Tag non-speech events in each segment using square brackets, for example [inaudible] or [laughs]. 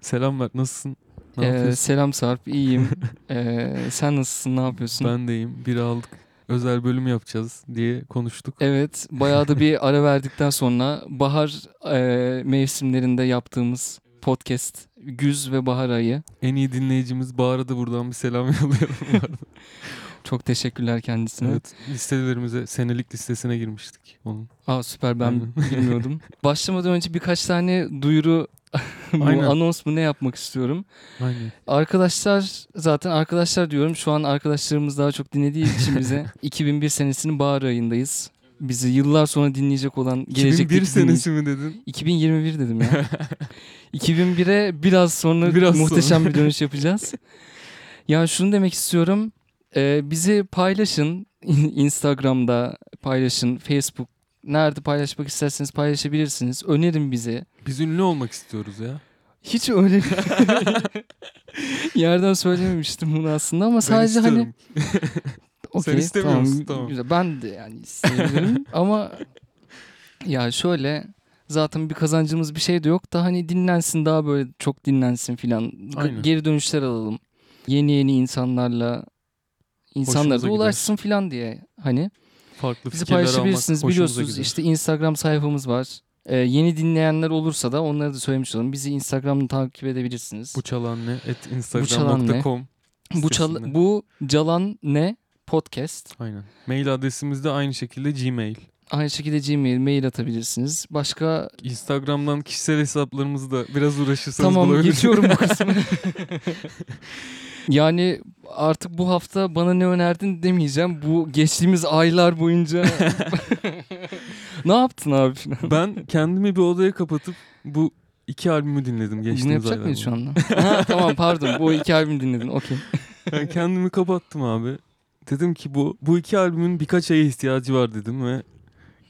Selamlar nasılsın? Ne Ee, yapıyorsun? selam [laughs] Sarp, iyiyim. Ee, sen nasılsın, ne yapıyorsun? Ben deyim. Biri aldık. Özel bölüm yapacağız diye konuştuk. Evet, bayağı da bir ara verdikten sonra bahar e, mevsimlerinde yaptığımız podcast, güz ve bahar ayı. En iyi dinleyicimiz Bahar'a da buradan bir selam [laughs] yollayalım. bu arada. Çok teşekkürler kendisine. evet. Listelerimize, senelik listesine girmiştik onun. Aa süper, ben Aynen. [laughs] bilmiyordum. Başlamadan önce birkaç tane duyuru, [laughs] bu Aynen. anons mu ne yapmak istiyorum. Aynen. Arkadaşlar zaten arkadaşlar diyorum şu an arkadaşlarımız daha çok dinlediği [laughs] için bize 2001 senesinin bahar ayındayız. Bizi yıllar sonra dinleyecek olan gelecek 2001 senesi mi dedin? 2021 [laughs] dedim ya. 2001'e biraz sonra Biraz muhteşem sonra. bir dönüş yapacağız. ya şunu demek istiyorum. Ee, bizi paylaşın. Instagram'da paylaşın. Facebook. Nerede paylaşmak isterseniz paylaşabilirsiniz. Önerin bizi. Biz ünlü olmak istiyoruz ya. Hiç öyle [laughs] bir [laughs] yerden söylememiştim bunu aslında ama sadece ben hani istiyorum. okey, istemiyor tamam, musun? Tamam. Güzel. Ben de [laughs] yani istemiyorum ama ya şöyle zaten bir kazancımız bir şey de yok da hani dinlensin daha böyle çok dinlensin filan. G- Aynen. Geri dönüşler alalım. Yeni yeni insanlarla insanlara Hoşumuza da gider. ulaşsın filan diye hani farklı bizi fikirler almak paylaşabilirsiniz hoşumuza biliyorsunuz gider. işte Instagram sayfamız var. Ee, yeni dinleyenler olursa da onları da söylemiş olalım. Bizi Instagram'dan takip edebilirsiniz. Bu çalan ne? Et çalan ne? instagram.com Bu çal sitesinde. bu calan ne podcast. Aynen. Mail adresimiz de aynı şekilde Gmail. Aynı şekilde Gmail mail atabilirsiniz. Başka Instagram'dan kişisel hesaplarımızı da biraz uğraşırsanız tamam bulabilirsiniz. geçiyorum bu [laughs] kısmı. yani artık bu hafta bana ne önerdin demeyeceğim. Bu geçtiğimiz aylar [laughs] boyunca ne yaptın abi? Ben kendimi bir odaya kapatıp bu iki albümü dinledim geçtiğimiz Bunu yapacak aylar mıyız şu boyunca. anda? ha, tamam pardon bu iki albüm dinledin okey. Ben kendimi kapattım abi. Dedim ki bu bu iki albümün birkaç aya ihtiyacı var dedim ve Ya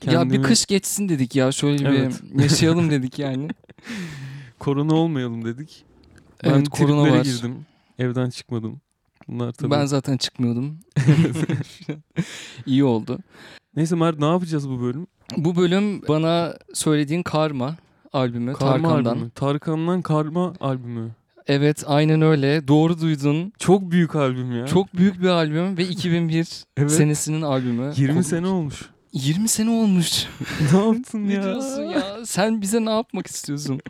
kendimi bir kış geçsin dedik ya şöyle Evet. bir yaşayalım dedik yani. korona olmayalım dedik. Ben Evet korona triplere var. girdim. Evden çıkmadım. Bunlar tabii. Ben zaten çıkmıyordum. [laughs] İyi oldu. Neyse Mert ne yapacağız bu bölüm? Bu bölüm bana söylediğin Karma albümü Karma Tarkan'dan. albümü. Tarkan'dan Karma albümü. Evet aynen öyle. Doğru duydun. Çok büyük albüm ya. Çok büyük bir albüm ve 2001 [laughs] Evet. senesinin albümü. 20 Ko- sene olmuş. [laughs] 20 sene olmuş. ne yaptın ne ya? diyorsun ya? Sen bize ne [laughs] yapmak istiyorsun?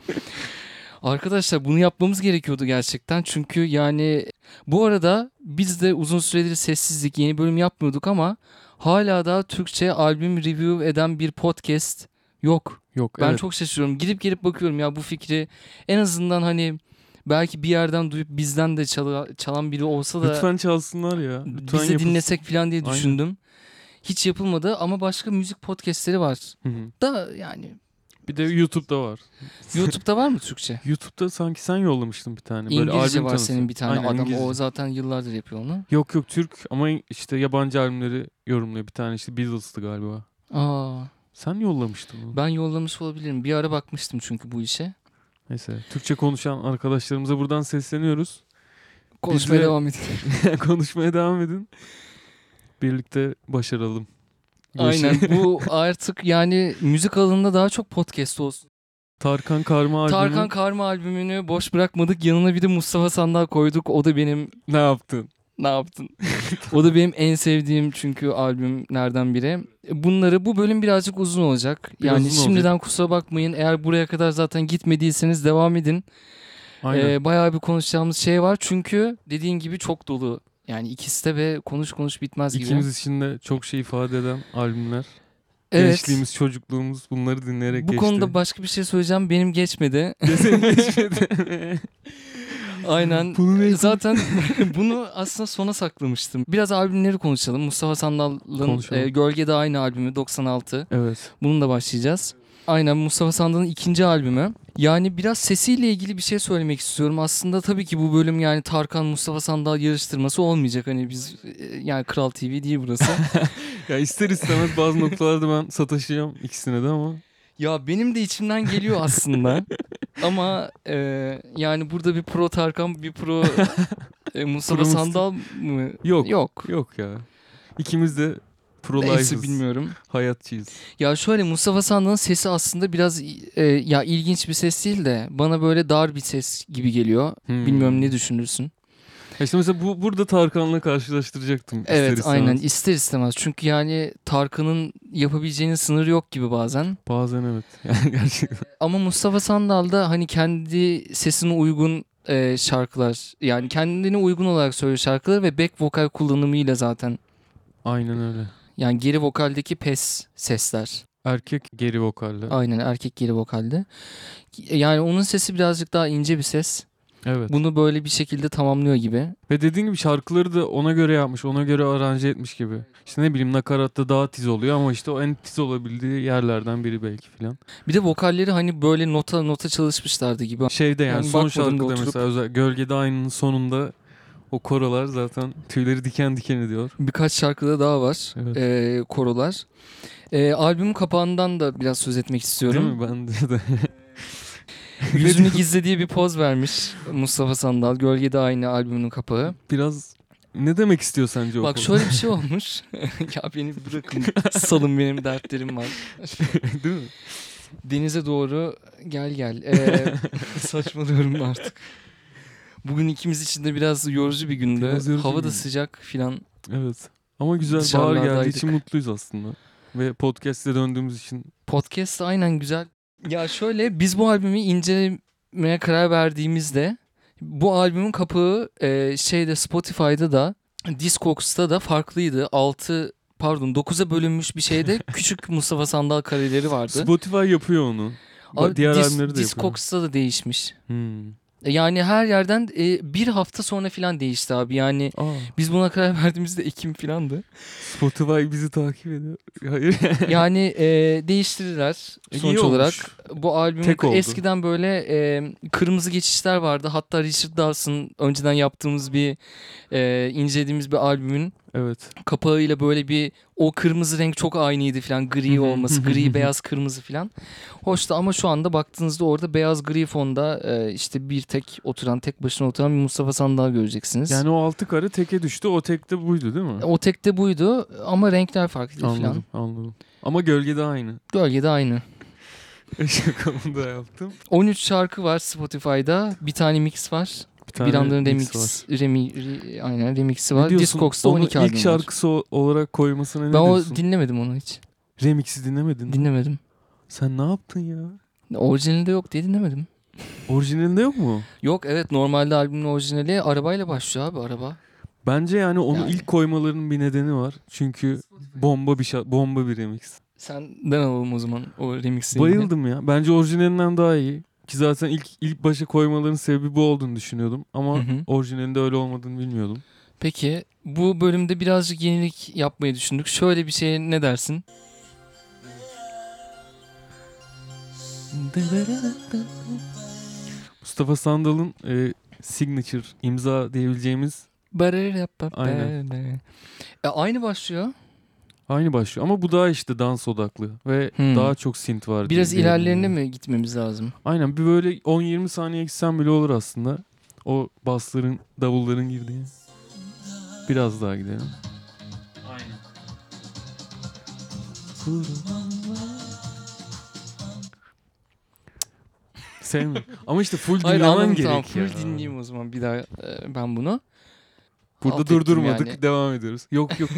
Arkadaşlar bunu yapmamız gerekiyordu gerçekten. Çünkü yani bu arada biz de uzun süredir sessizlik yeni bölüm yapmıyorduk ama hala da Türkçe albüm review eden bir podcast yok. Yok Ben evet. çok şaşırıyorum. Gidip gelip bakıyorum ya bu fikri en azından hani belki bir yerden duyup bizden de çala- çalan biri olsa da Lütfen çalsınlar ya. Lütfen bize yapın. dinlesek falan diye Aynen. düşündüm. Hiç yapılmadı ama başka müzik podcastleri var. Hı hı. Da [laughs] yani Bir de YouTube'da var. YouTube'da var mı Türkçe? YouTube'da sanki sen yollamıştın bir tane. Hani Böyle İngilizce albüm var tanısı. senin bir tane Aynen, adam. İngilizce. O zaten yıllardır yapıyor onu. Yok yok Türk ama işte yabancı albümleri yorumluyor. Bir tane işte Beatles'tı galiba. Aa, Sen yollamıştın onu. ben yollamış olabilirim. Bir ara bakmıştım çünkü bu işe. Neyse. Türkçe konuşan arkadaşlarımıza buradan sesleniyoruz. [laughs] Konuşmaya Bizle- devam edelim. Konuşmaya devam edin. Birlikte başaralım. Görüşürüz. Aynen bu artık yani müzik alanında daha çok podcast olsun. [laughs] Tarkan Karma albümü. Tarkan Karma albümünü boş bırakmadık. Yanına bir de Mustafa Sandal koyduk. O da benim ne yaptın? [laughs] ne yaptın? o da benim en sevdiğim çünkü albümlerden biri. Bunları bu bölüm birazcık uzun olacak. Biraz yani uzun şimdiden kusura bakmayın. Eğer buraya kadar zaten gitmediyseniz devam edin. Aynen. Ee, bayağı bir konuşacağımız şey var. Çünkü dediğin gibi çok dolu. Yani ikisi de ve konuş konuş bitmez gibi. İkimiz için de çok şey ifade eden albümler. evet. Gençliğimiz, çocukluğumuz bunları dinleyerek bu geçti. konuda başka bir şey söyleyeceğim. [laughs] Benim geçmedi. Kesin geçmedi. [laughs] Aynen. Bunu ne- Zaten [laughs] bunu aslında sona saklamıştım. Biraz albümleri konuşalım. Mustafa Sandal'ın Konuşalım. e, Gölge'de aynı albümü 96. evet. Bununla başlayacağız. Aynen Mustafa Sandal'ın ikinci albümü. Yani biraz sesiyle ilgili bir şey söylemek istiyorum. Aslında tabii ki bu bölüm yani Tarkan Mustafa Sandal yarıştırması olmayacak. Hani biz e, yani Kral TV değil burası. Ya ister istemez bazı noktalarda ben sataşacağım ikisine de ama ya benim de içimden geliyor [laughs] aslında. Ama e, yani burada bir pro Tarkan bir pro e, Mustafa Pro Mustafa. Sandal mı? yok yok, Yok. ya. İkimiz de Pro Neyse life'ız. bilmiyorum. Hayatçıyız. Ya şöyle Mustafa Sandal'ın sesi aslında biraz e, ya ilginç bir ses değil de bana böyle dar bir ses gibi geliyor. Hmm. Bilmiyorum ne düşünürsün. Ya İşte mesela bu, burada Tarkan'la karşılaştıracaktım. ister Evet istemez. aynen ister istemez. Çünkü yani Tarkan'ın yapabileceğinin sınırı yok gibi bazen. Bazen evet. [laughs] Yani gerçekten. Ama Mustafa Sandal da hani kendi sesine uygun e, şarkılar yani kendine uygun olarak söylüyor şarkıları ve back vokal kullanımıyla zaten Aynen öyle. yani geri vokaldeki pes sesler. Erkek geri vokalle. Aynen erkek geri vokalde. Yani onun sesi birazcık daha ince bir ses. Evet. Bunu böyle bir şekilde tamamlıyor gibi. Ve dediğin gibi şarkıları da ona göre yapmış, ona göre aranje etmiş gibi. İşte ne bileyim nakaratta daha tiz oluyor ama işte o en tiz olabildiği yerlerden biri belki filan. Bir de vokalleri hani böyle nota nota çalışmışlardı gibi. Şeyde yani, Yani son bakmadım da şarkıda oturup- mesela özel, Gölgede Aynı'nın sonunda o korolar zaten tüyleri diken diken ediyor. Birkaç şarkıda daha var Evet. eee, korolar. Eee albüm kapağından da biraz söz etmek Değil istiyorum. mi? Bence de. [laughs] Yüzünü gizlediği bir poz vermiş Mustafa Sandal. Gölgede aynı albümünün kapağı. Biraz ne demek istiyor sence o Bak koro? şöyle bir şey olmuş. [laughs] ya beni bırakın. Salın benim dertlerim var. [laughs] Değil mi? Denize doğru gel gel. [laughs] Eee, saçmalıyorum artık. Bugün ikimiz için de biraz yorucu bir günde. Biraz yorucu Hava bir da gün. sıcak filan. Evet. Ama güzel bahar geldiği Dışarılardaydık. için mutluyuz aslında. Ve podcast'e döndüğümüz için Podcast da aynen güzel. Ya şöyle biz bu albümü incelemeye karar verdiğimizde bu albümün kapağı e, şeyde Spotify'da da Discogs'ta da farklıydı. 6 pardon 9'a bölünmüş [laughs] bir şeyde küçük Mustafa Sandal kareleri vardı. Spotify yapıyor onu. Ba- Abi Diğer Dis- albümleri de yapıyor. Discogs'ta da değişmiş. Hmm. E, Yani her yerden e, bir hafta sonra falan değişti abi. Yani Aa, biz buna karar [laughs] verdiğimizde Ekim filandı. Spotify bizi takip ediyor. [laughs] Hayır. Yani e, değiştirdiler İyi sonuç E, olmuş. olarak. Bu albümün Tek oldu. eskiden böyle e, kırmızı geçişler vardı. Hatta Richard Dawson önceden yaptığımız bir e, incelediğimiz bir albümün evet. kapağıyla böyle bir o kırmızı renk çok aynıydı falan gri Hı hı. [laughs] olması gri beyaz kırmızı falan. Hoştu ama şu anda baktığınızda orada beyaz gri fonda e, işte bir tek oturan tek başına oturan bir Mustafa Sandal göreceksiniz. Yani o altı karı teke düştü. O tek de buydu değil mi? o tek de buydu ama renkler farklıydı falan. Anladım, anladım. Ama gölgede aynı. [laughs] Gölgede aynı. Şakamı da yaptım. 13 şarkı var Spotify'da. Bir tane mix var. Bir bir anların remix, mix var. Remi, re- aynen remixi Ne var. diyorsun? Discogs'ta Onu 12 albüm ilk var. şarkısı o- olarak koymasına ne Ben o diyorsun? dinlemedim onu hiç. Remix'i dinlemedin. mi? Dinlemedim. Sen ne yaptın ya? Orijinalinde yok diye dinlemedim. Orijinalinde yok mu? Yok evet normalde albümün orijinali arabayla başlıyor abi araba. Bence yani onu Yani. ilk koymalarının bir nedeni var. Çünkü bomba bir şa- bomba bir remix. Senden alalım o zaman o remixi. Bayıldım ya. Bence orijinalinden daha iyi. Ki zaten ilk ilk başa koymaların sebebi bu olduğunu düşünüyordum ama Hı hı. orijinalinde öyle olmadığını bilmiyordum. Peki bu bölümde birazcık yenilik yapmayı düşündük. Şöyle bir şeye ne dersin? Mustafa Sandal'ın e, signature imza diyebileceğimiz Aynen. E, aynı başlıyor. aynı başlıyor ama bu daha işte dans odaklı ve Hmm. daha çok synth var. diye- Biraz diyelim ilerlerine yani. mi gitmemiz lazım? Aynen bir böyle 10-20 saniye gitsen bile olur aslında. O basların, davulların girdiği. Biraz daha gidelim. Aynen. Sevmiyorum. Ama işte full Hayır dinlemen anladım gerek tamam. ya. Full dinleyeyim o zaman bir daha e, ben bunu. Burada Alt ettim durdurmadık yani. devam ediyoruz. Yok [laughs] yok.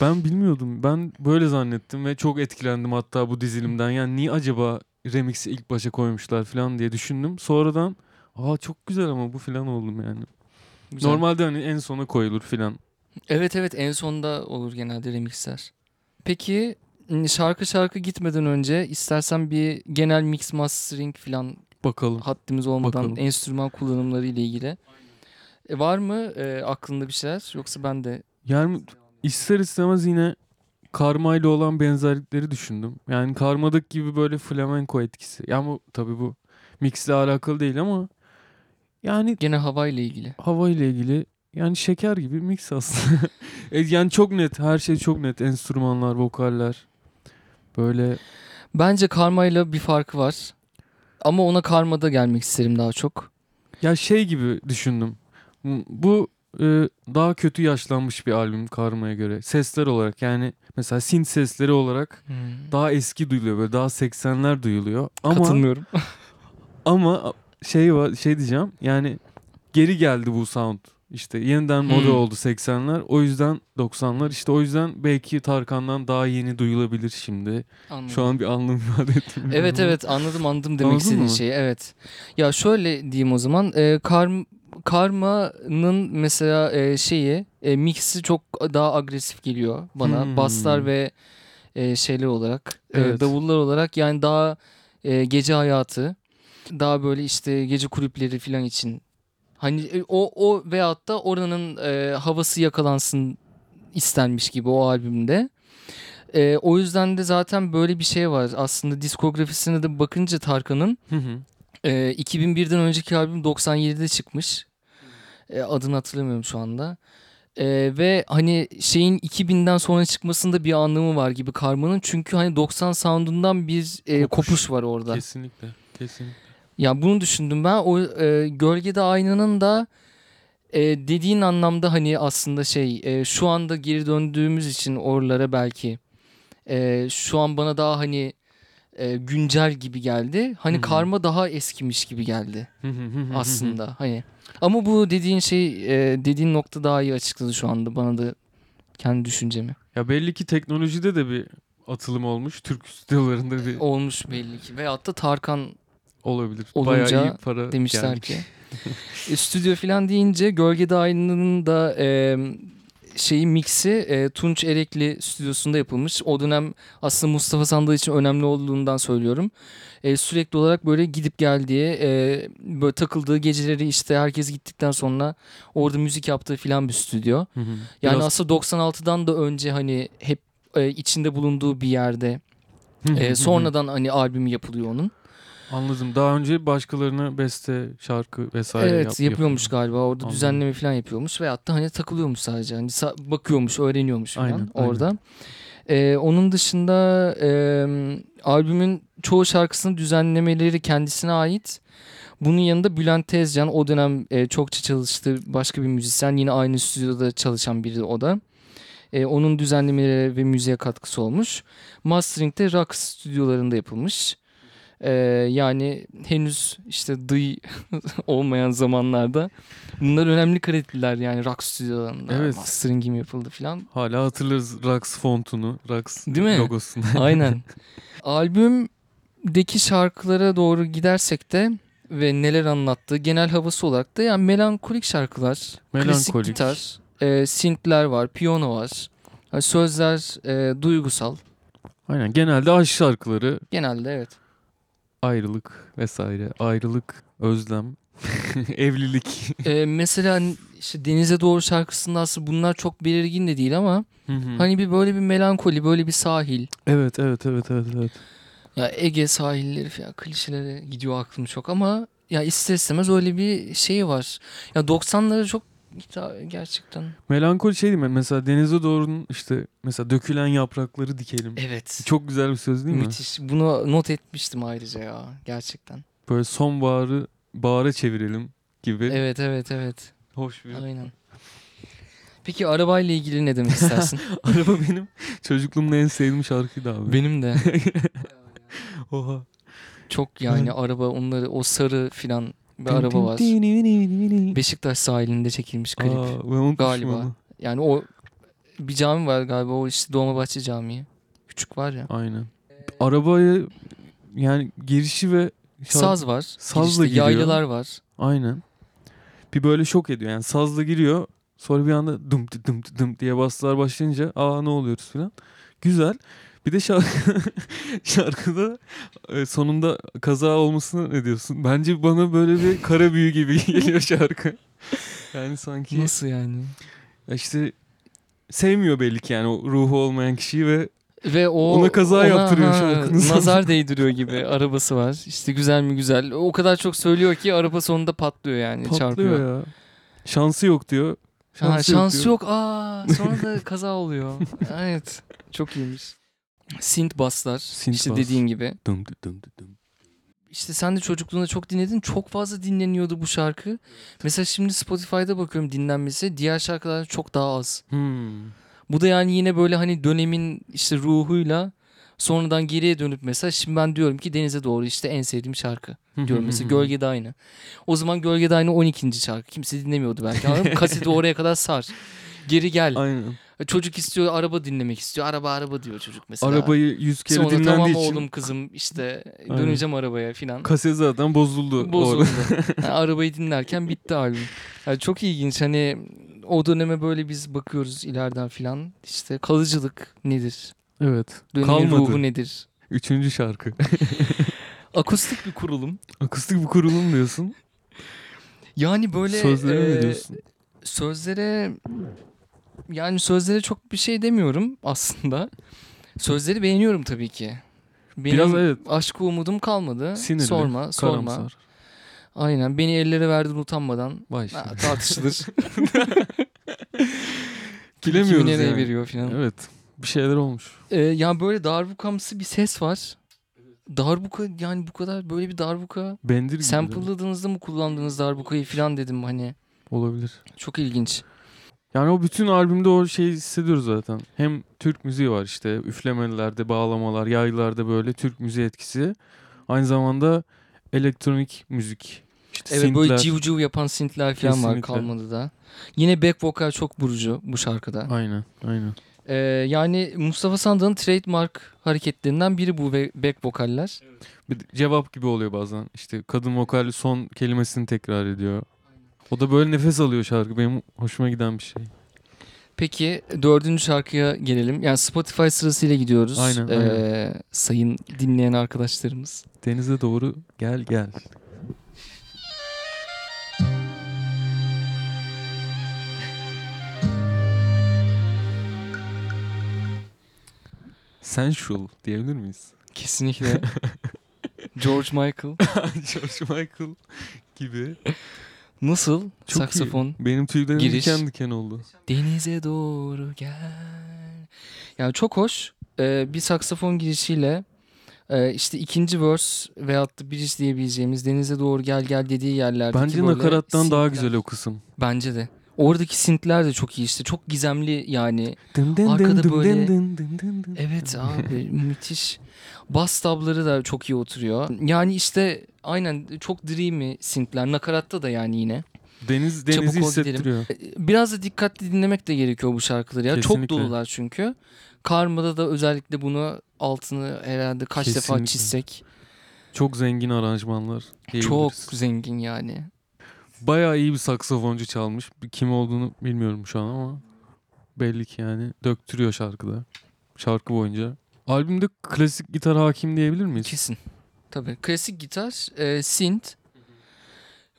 ben bilmiyordum. Ben böyle zannettim ve çok etkilendim hatta bu dizilimden. Yani niye acaba remix'i ilk başa koymuşlar falan diye düşündüm. Sonradan aa çok güzel ama bu falan oldum yani. Güzel. Normalde hani en sona koyulur falan. Evet evet en sonda olur genelde remixler. Peki m, şarkı şarkı gitmeden önce istersen bir genel mix mastering falan Bakalım. haddimiz olmadan Bakalım. enstrüman kullanımları ile ilgili. E, var mı e, aklında bir şeyler yoksa ben de Yani ister istemez yine karmayla olan benzerlikleri düşündüm. Yani karmadaki gibi böyle flamenco etkisi. Yani bu tabii bu mixle alakalı değil ama yani gene hava ile ilgili. hava ile ilgili yani şeker gibi mix aslında. [laughs] E, yani çok net her şey çok net enstrümanlar, vokaller böyle Bence karmayla bir farkı var. Ama ona karmada gelmek isterim daha çok. ya şey gibi düşündüm. M- Bu e, daha kötü yaşlanmış bir albüm Karma'ya göre. Sesler olarak yani mesela synth sesleri olarak Hmm. daha eski duyuluyor böyle daha 80'ler duyuluyor. Ama Katılmıyorum. ama şey var şey diyeceğim yani geri geldi bu sound. İşte yeniden moda Hmm. oldu 80'ler. O yüzden 90'lar işte o yüzden belki Tarkan'dan daha yeni duyulabilir şimdi. Anladım. Şu an bir anlam ifade ettim. Hmm. Evet evet anladım anladım demek Anladın istediğin mı? şeyi evet. Ya şöyle diyeyim o zaman e, Karm Karma'nın mesela e, şeyi e, mixi çok daha agresif geliyor bana. Hmm. Baslar ve e, şeyler olarak e, Evet. davullar olarak yani daha e, gece hayatı daha böyle işte gece kulüpleri falan için hani e, o o veyahut da oranın e, havası yakalansın istenmiş gibi o albümde. E, o yüzden de zaten böyle bir şey var. Aslında diskografisine de bakınca Tarkan'ın Hı hı. e, 2001'den önceki albüm 97'de çıkmış. E, adını hatırlamıyorum şu anda. E, ve hani şeyin 2000'den sonra çıkmasında bir anlamı var gibi Karma'nın. Çünkü hani 90 sound'undan bir e, Kopuş. kopuş var orada. Kesinlikle. Kesinlikle. Ya bunu düşündüm ben. O e, gölgede aynanın da e, dediğin anlamda hani aslında şey e, şu anda geri döndüğümüz için oralara belki e, şu an bana daha hani e, güncel gibi geldi. Hani Hı hı. karma daha eskimiş gibi geldi Hı hı hı hı hı. aslında hani. Ama bu dediğin şey e, dediğin nokta daha iyi açıkladı şu anda bana da kendi düşüncemi. Ya belli ki teknolojide de bir atılım olmuş. Türk stüdyolarında bir Olmuş belli ki. Veyahut da Tarkan olabilir. Olunca Bayağı iyi para demişler gelmiş. ki. E, stüdyo falan deyince Gölge Dairinin da e, şeyi mixi e, Tunç Erekli stüdyosunda yapılmış. O dönem aslında Mustafa Sandal için önemli olduğundan söylüyorum. E, sürekli olarak böyle gidip geldiği, e, böyle takıldığı geceleri işte herkes gittikten sonra orada müzik yaptığı falan bir stüdyo. Hı hı. Yani Biraz- aslında 96'dan da önce hani hep e, içinde bulunduğu bir yerde. Hı hı hı E, hı. sonradan hani albümü yapılıyor onun. Anladım. Daha önce başkalarına beste, şarkı vesaire evet yap- yapıyormuş galiba orada Anladım. düzenleme falan yapıyormuş ve hatta hani takılıyormuş sadece hani sa- bakıyormuş öğreniyormuş falan Aynen, aynen. orada. Ee, onun dışında e, albümün çoğu şarkısının düzenlemeleri kendisine ait. Bunun yanında Bülent Tezcan o dönem e, çokça çalıştığı başka bir müzisyen yine aynı stüdyoda çalışan biri o da. E, onun düzenlemelere ve müziğe katkısı olmuş. Mastering de rock stüdyolarında yapılmış. E, yani henüz işte dıy [laughs] olmayan zamanlarda bunlar önemli krediler yani rock stüdyolarında Evet. masteringim yapıldı filan. Hala hatırlarız Rax fontunu, Rax Değil mi? [laughs] logosunu. [laughs] Aynen. Albümdeki şarkılara doğru gidersek de ve neler anlattığı genel havası olarak da yani melankolik şarkılar, klasik Melankolik. gitar, e, synthler var, piyano var. Yani sözler e, duygusal. Aynen. Genelde aşk şarkıları, Genelde evet. ayrılık vesaire. Ayrılık, özlem, [laughs] evlilik. E, mesela işte Denize Doğru şarkısında aslında bunlar çok belirgin de değil ama Hı hı. hani bir böyle bir melankoli, böyle bir sahil. Evet, evet, evet, evet, evet. Ya Ege sahilleri falan klişelere gidiyor aklım çok ama ya ister istemez öyle bir şey var. Ya 90'lara çok hita- gerçekten. Melankoli şey değil mi? Mesela denize doğrunun işte mesela dökülen yaprakları dikelim. Evet. Çok güzel bir söz değil mi? müthiş. Bunu not etmiştim ayrıca ya gerçekten. Böyle sonbaharı bahara çevirelim gibi. Evet evet evet. Hoş bir. Aynen. Peki arabayla ilgili ne [laughs] demek istersin? [laughs] Araba benim çocukluğumda en sevdiğim şarkıydı abi. Benim de Oha. [laughs] çok yani araba onları o sarı filan bir araba var. Beşiktaş sahilinde çekilmiş klip. Aa, ben unutmuşum Galiba. onu. Yani o bir cami var galiba o işte Dolmabahçe Camii. Küçük var ya. Aynen. Arabaya yani girişi ve şarkı- Saz var. Sazla girişte, giriyor. Yaylılar var. Aynen. Bir böyle şok ediyor. Yani sazla giriyor. Sonra bir anda dım dı dım dı dım diye baslar başlayınca aa ne oluyoruz falan. Güzel. Bir de şarkı [laughs] şarkıda e, sonunda kaza olmasına ne diyorsun? Bence bana böyle bir kara büyü gibi [laughs] geliyor şarkı. Yani sanki Nasıl yani? Ya işte sevmiyor belli ki yani o ruhu olmayan kişiyi ve Ve o Ona kaza yaptırıyor ha, şarkının [laughs] Nazar değdiriyor gibi arabası var. İşte güzel mi güzel. O kadar çok söylüyor ki araba sonunda patlıyor yani E, çarpıyor. patlıyor ya. Şansı yok diyor. Şansı, ha, Şansı yok şansı diyor. yok. Aa sonra da kaza [laughs] oluyor. evet. Çok iyiymiş. Synth basslar. Synth işte bass. dediğin gibi. Dım dı dım dı dım. işte sen de çocukluğunda çok dinledin. Çok fazla dinleniyordu bu şarkı. Mesela şimdi Spotify'da bakıyorum dinlenmesi. Diğer şarkılar çok daha az. Hmm. Bu da yani yine böyle hani dönemin işte ruhuyla sonradan geriye dönüp mesela şimdi ben diyorum ki Denize Doğru işte en sevdiğim [laughs] şarkı diyorum. Hmm. mesela Gölge de aynı. O zaman Gölge de aynı 12. şarkı. Kimse dinlemiyordu [laughs] belki. Anladın mı? Kaseti oraya kadar sar. Geri gel. Aynen. Çocuk istiyor araba dinlemek istiyor. Araba araba diyor çocuk mesela. Arabayı yüz kere Sonra dinlendiği tamam için oğlum kızım işte döneceğim arabaya filan. kaset zaten bozuldu. Bozuldu. orada. [laughs] Yani arabayı dinlerken bitti albüm. Yani çok ilginç hani o döneme böyle biz bakıyoruz ileriden filan. İşte kalıcılık nedir? Evet. Dönemin Kalmadı. ruhu nedir? Üçüncü şarkı. [laughs] Akustik bir kurulum. Akustik bir kurulum diyorsun. Yani böyle Sözlere e, ne diyorsun? sözlere yani sözlere çok bir şey demiyorum aslında. Sözleri beğeniyorum tabii ki. Benim Biraz evet. aşkı umudum kalmadı. Sinirli, sorma, sorma. Karamsar. Aynen. Beni ellere verdin utanmadan. Vay Ha, şimdi. tartışılır. [laughs] Bilemiyoruz Kimi nereye yani. veriyor filan. Evet. Bir şeyler olmuş. Ee, yani böyle darbukamsı bir ses var. Darbuka yani bu kadar böyle bir darbuka. Bendir gibi. de Sample'ladığınızda mı kullandınız darbukayı filan dedim hani. Olabilir. Çok ilginç. Yani o bütün albümde o şeyi hissediyoruz zaten. Hem Türk müziği var işte. Üflemelerde, bağlamalar, yaylılarda böyle Türk müziği etkisi. Aynı zamanda elektronik müzik. İşte Evet böyle synthler. civciv yapan synthler falan var Kesinlikle. kalmadı da. Yine back vokal çok vurucu bu şarkıda. Aynen, aynen. Ee, yani Mustafa Sandal'ın trademark hareketlerinden biri bu ve- back vokaller. Bir de cevap gibi oluyor bazen. İşte kadın vokali son kelimesini tekrar ediyor. O da böyle nefes alıyor şarkı. Benim hoşuma giden bir şey. Peki dördüncü şarkıya gelelim. Yani Spotify sırasıyla gidiyoruz. Aynen, Ee, Sayın dinleyen arkadaşlarımız. Denize doğru gel gel. Sensual diyebilir miyiz? [laughs] Kesinlikle. George Michael. George Michael gibi. Nasıl? Çok Saksafon. iyi. Benim tüylerim giriş. diken diken oldu. Denize doğru gel. Yani çok hoş. Ee, bir saksafon girişiyle e, işte ikinci verse veyahut da bridge diyebileceğimiz denize doğru gel gel dediği yerlerde. Bence nakarattan daha güzel o kısım. Bence de. Oradaki sintler de çok iyi işte. Çok gizemli yani. Dın dın dın Arkada dın böyle- dın dın dın dın. Evet abi [laughs] müthiş. Bas tabları da çok iyi oturuyor. Yani işte aynen çok dreamy sintler. Nakaratta da yani yine. Deniz Çabuk E, denizi ol hissettiriyor. Biraz da dikkatli dinlemek de gerekiyor bu şarkıları ya. Çok Kesinlikle. dolular çünkü. Karma'da da özellikle bunu altını herhalde kaç defa Kesinlikle. çizsek. Çok zengin aranjmanlar. Çok diyebiliriz. zengin yani. Bayağı iyi bir saksafoncu çalmış. Kim olduğunu bilmiyorum şu an ama belli ki yani döktürüyor şarkıda. Şarkı boyunca. Albümde klasik gitar hakim diyebilir miyiz? Kesin. Tabii. Klasik gitar, e, synth,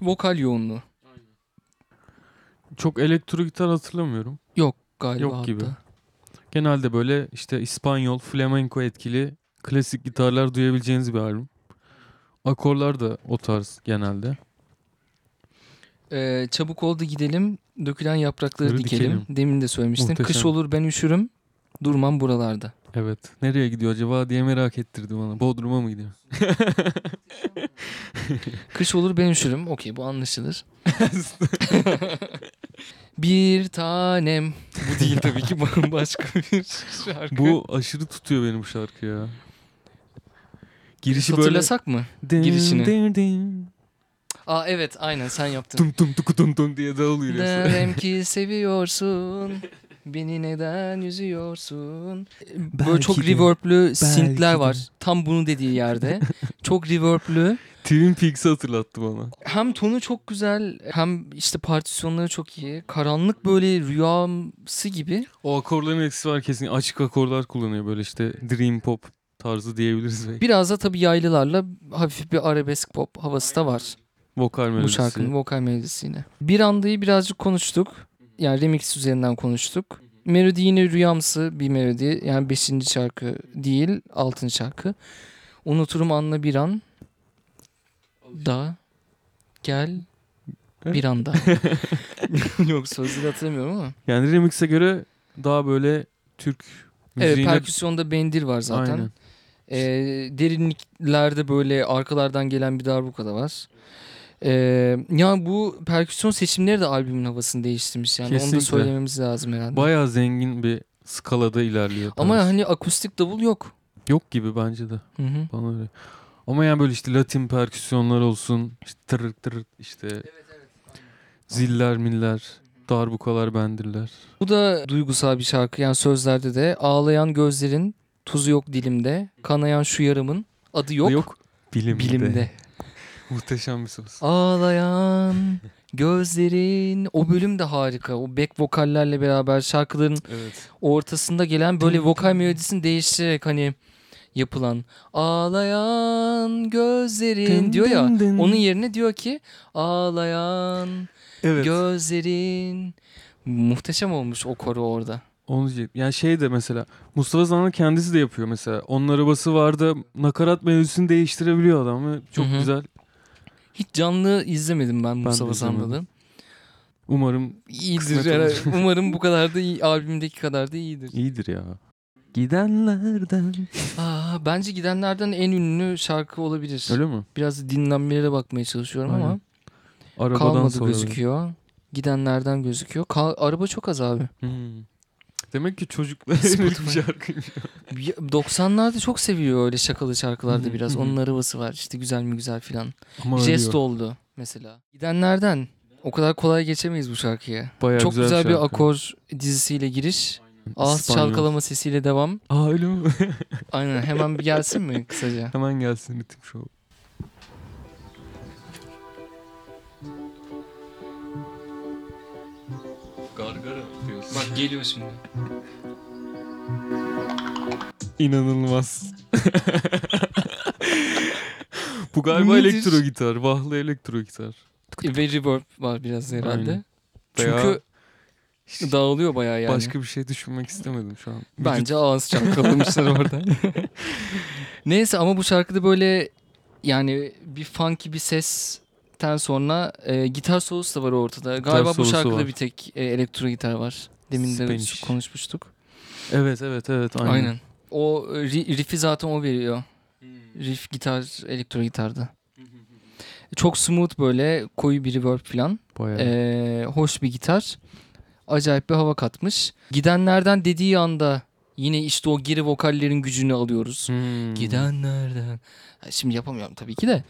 vokal yoğunluğu. Çok elektro gitar hatırlamıyorum. Yok galiba Yok hatta. gibi. Genelde böyle işte İspanyol, flamenco etkili klasik gitarlar duyabileceğiniz bir albüm. Akorlar da o tarz genelde. E, çabuk oldu gidelim, dökülen yaprakları Ları dikelim. dikelim. Demin de söylemiştim. Kış Muhteşem. olur ben üşürüm, durmam buralarda. Evet. Nereye gidiyor acaba diye merak ettirdi bana. Bodrum'a mı gidiyor? Kış olur ben üşürüm. Okey bu [laughs] anlaşılır. bir tanem. Bu [laughs] değil tabii ki başka bir şarkı. Bu aşırı tutuyor benim şarkı ya. Girişi böyle Hatırlasak mı? Dın girişini. dın dın. Aa evet aynen sen yaptın. Tum tum tuku tum tum diye dağılıyor. resmen. [laughs] Derim ki seviyorsun. Beni neden üzüyorsun? Böyle Belki çok de, reverb'lü synth'ler de. var. Tam bunu dediği [laughs] yerde. çok reverb'lü. Twin Peaks'i hatırlattı bana. Hem tonu çok güzel hem işte partisyonları çok iyi. Karanlık böyle rüyamsı gibi. O akorların etkisi var kesin. Açık akorlar kullanıyor böyle işte dream pop tarzı diyebiliriz belki. Biraz da tabii yaylılarla hafif bir arabesk pop havası da var. Vokal melodisi. Bu şarkının vokal melodisi yine. Bir andayı birazcık konuştuk. Yani remix üzerinden konuştuk. Melodi yine rüyamsı bir melodi. Yani 5. şarkı değil 6. şarkı. Unuturum anla bir an. Da. Gel. [laughs] Bir anda. [laughs] Yok sözleri hatırlamıyorum ama. Yani remix'e göre daha böyle Türk müziğine... Evet perküsyonda bendir var zaten. Aynen. Ee, derinliklerde böyle arkalardan gelen bir darbuka da var. Ee, ya bu perküsyon seçimleri de albümün havasını değiştirmiş yani onu da Kesinlikle. söylememiz lazım herhalde. Bayağı zengin bir skalada ilerliyor. Ama Paris. hani akustik davul yok. Yok gibi bence de. Hı hı. Bana öyle. Ama yani böyle işte Latin perküsyonlar olsun. İşte tırır tırır işte. Ziller miller. Darbukalar bendirler. Bu da duygusal bir şarkı yani sözlerde de ağlayan gözlerin tuzu yok dilimde kanayan şu yaramın adı yok, Yok. Bilimde. bilimde. [laughs] Muhteşem bir söz. [laughs] Ağlayan gözlerin o bölüm de harika. O back vokallerle beraber şarkıların Evet. ortasında gelen böyle vokal melodisini değiştirerek hani yapılan ağlayan gözlerin diyor ya. Onun yerine diyor ki ağlayan evet. gözlerin muhteşem olmuş o koro orada. Onu diyecek. Yani şey de mesela Mustafa Zan'ın kendisi de yapıyor mesela. Onun arabası var da nakarat melodisini değiştirebiliyor adam ve çok Hı hı. güzel. Hiç canlı izlemedim ben Mustafa izlemedim. Sandal'ı. Umarım İyidir. Kısmet herhalde. olur. [laughs] Umarım bu kadar da iyi, albümdeki kadar da iyidir. iyidir ya. Gidenlerden. Aa, bence gidenlerden en ünlü şarkı olabilir. Öyle mi? Biraz dinlenmelere bakmaya çalışıyorum ama Aynen. Arabadan kalmadı sonra. gözüküyor. Gidenlerden gözüküyor. Ka- araba çok az abi. Hmm. Demek ki çocuklara Spotify. yönelik [laughs] bir şarkıymış. Ya, 90'larda çok seviyor öyle şakalı şarkılarda biraz. Hı hı. Onun arabası var işte güzel mi güzel filan. Ama Jest ölüyor. oldu mesela. Gidenlerden o kadar kolay geçemeyiz bu şarkıya. Bayağı çok güzel bir şarkı. akor dizisiyle giriş. Ağız İspanyol. çalkalama sesiyle devam. Aa öyle mi? [laughs] Aynen hemen bir gelsin mi kısaca? Hemen gelsin ritim show. Gargara diyorsun. Bak geliyor şimdi. [laughs] inanılmaz. Bu galiba Nedir? elektro gitar. Vahlı elektro gitar. E, Ve reverb var biraz herhalde. Aynen. Veya Çünkü dağılıyor bayağı yani. başka bir şey düşünmek istemedim şu an. Vücut- Bence ağız çalkalamışlar [laughs] orada. Neyse ama bu şarkıda böyle yani bir funky bir sesten sonra e, gitar solosu da var ortada. Galiba bu solosu şarkıda var. bir tek e, elektro gitar var. Demin de Spanish. konuşmuştuk. Evet evet evet aynen. Aynen. O e, ri- riff'i zaten o veriyor. Hmm. Riff gitar, elektro gitarda. Çok smooth böyle koyu bir reverb falan. Bayağı. Ee, hoş bir gitar. Acayip bir hava katmış. Gidenlerden dediği anda yine işte o geri vokallerin gücünü alıyoruz. Hmm. Gidenlerden. Ha, Şimdi yapamıyorum tabii ki de.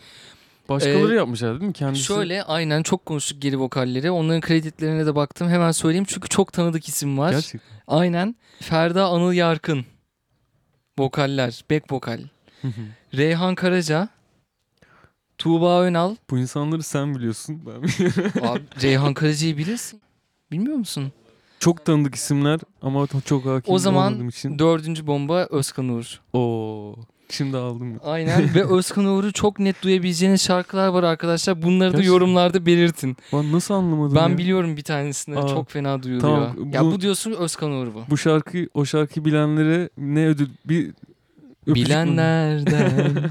Başkaları Ee, yapmışlar değil mi? Kendisi. Şöyle aynen çok konuştuk geri vokalleri. Onların kreditlerine de baktım. Hemen söyleyeyim çünkü çok tanıdık isim var. Gerçekten. Aynen. Ferda Anıl Yarkın. Vokaller. Back vokal. Reyhan Karaca. Tuğba Önal. Bu insanları sen biliyorsun. Ben bilmiyorum. Abi, Reyhan Karaca'yı bilirsin. Bilmiyor musun? çok tanıdık isimler ama çok hakim O zaman- olmadığım için. Dördüncü bomba Özkan Uğur. Oo. Şimdi aldım. [laughs] Aynen ve Özkan Uğur'u çok net duyabileceğiniz şarkılar var arkadaşlar. Bunları da Gerçekten. yorumlarda belirtin. Ben nasıl anlamadım Ben ya? biliyorum bir tanesini. Aa, çok fena duyuluyor. tamam, Ya bu- bu diyorsun Özkan Uğur bu. Bu şarkıyı, o şarkıyı bilenlere ne ödül? Bir öpücük mü? [laughs] Bilenlerden.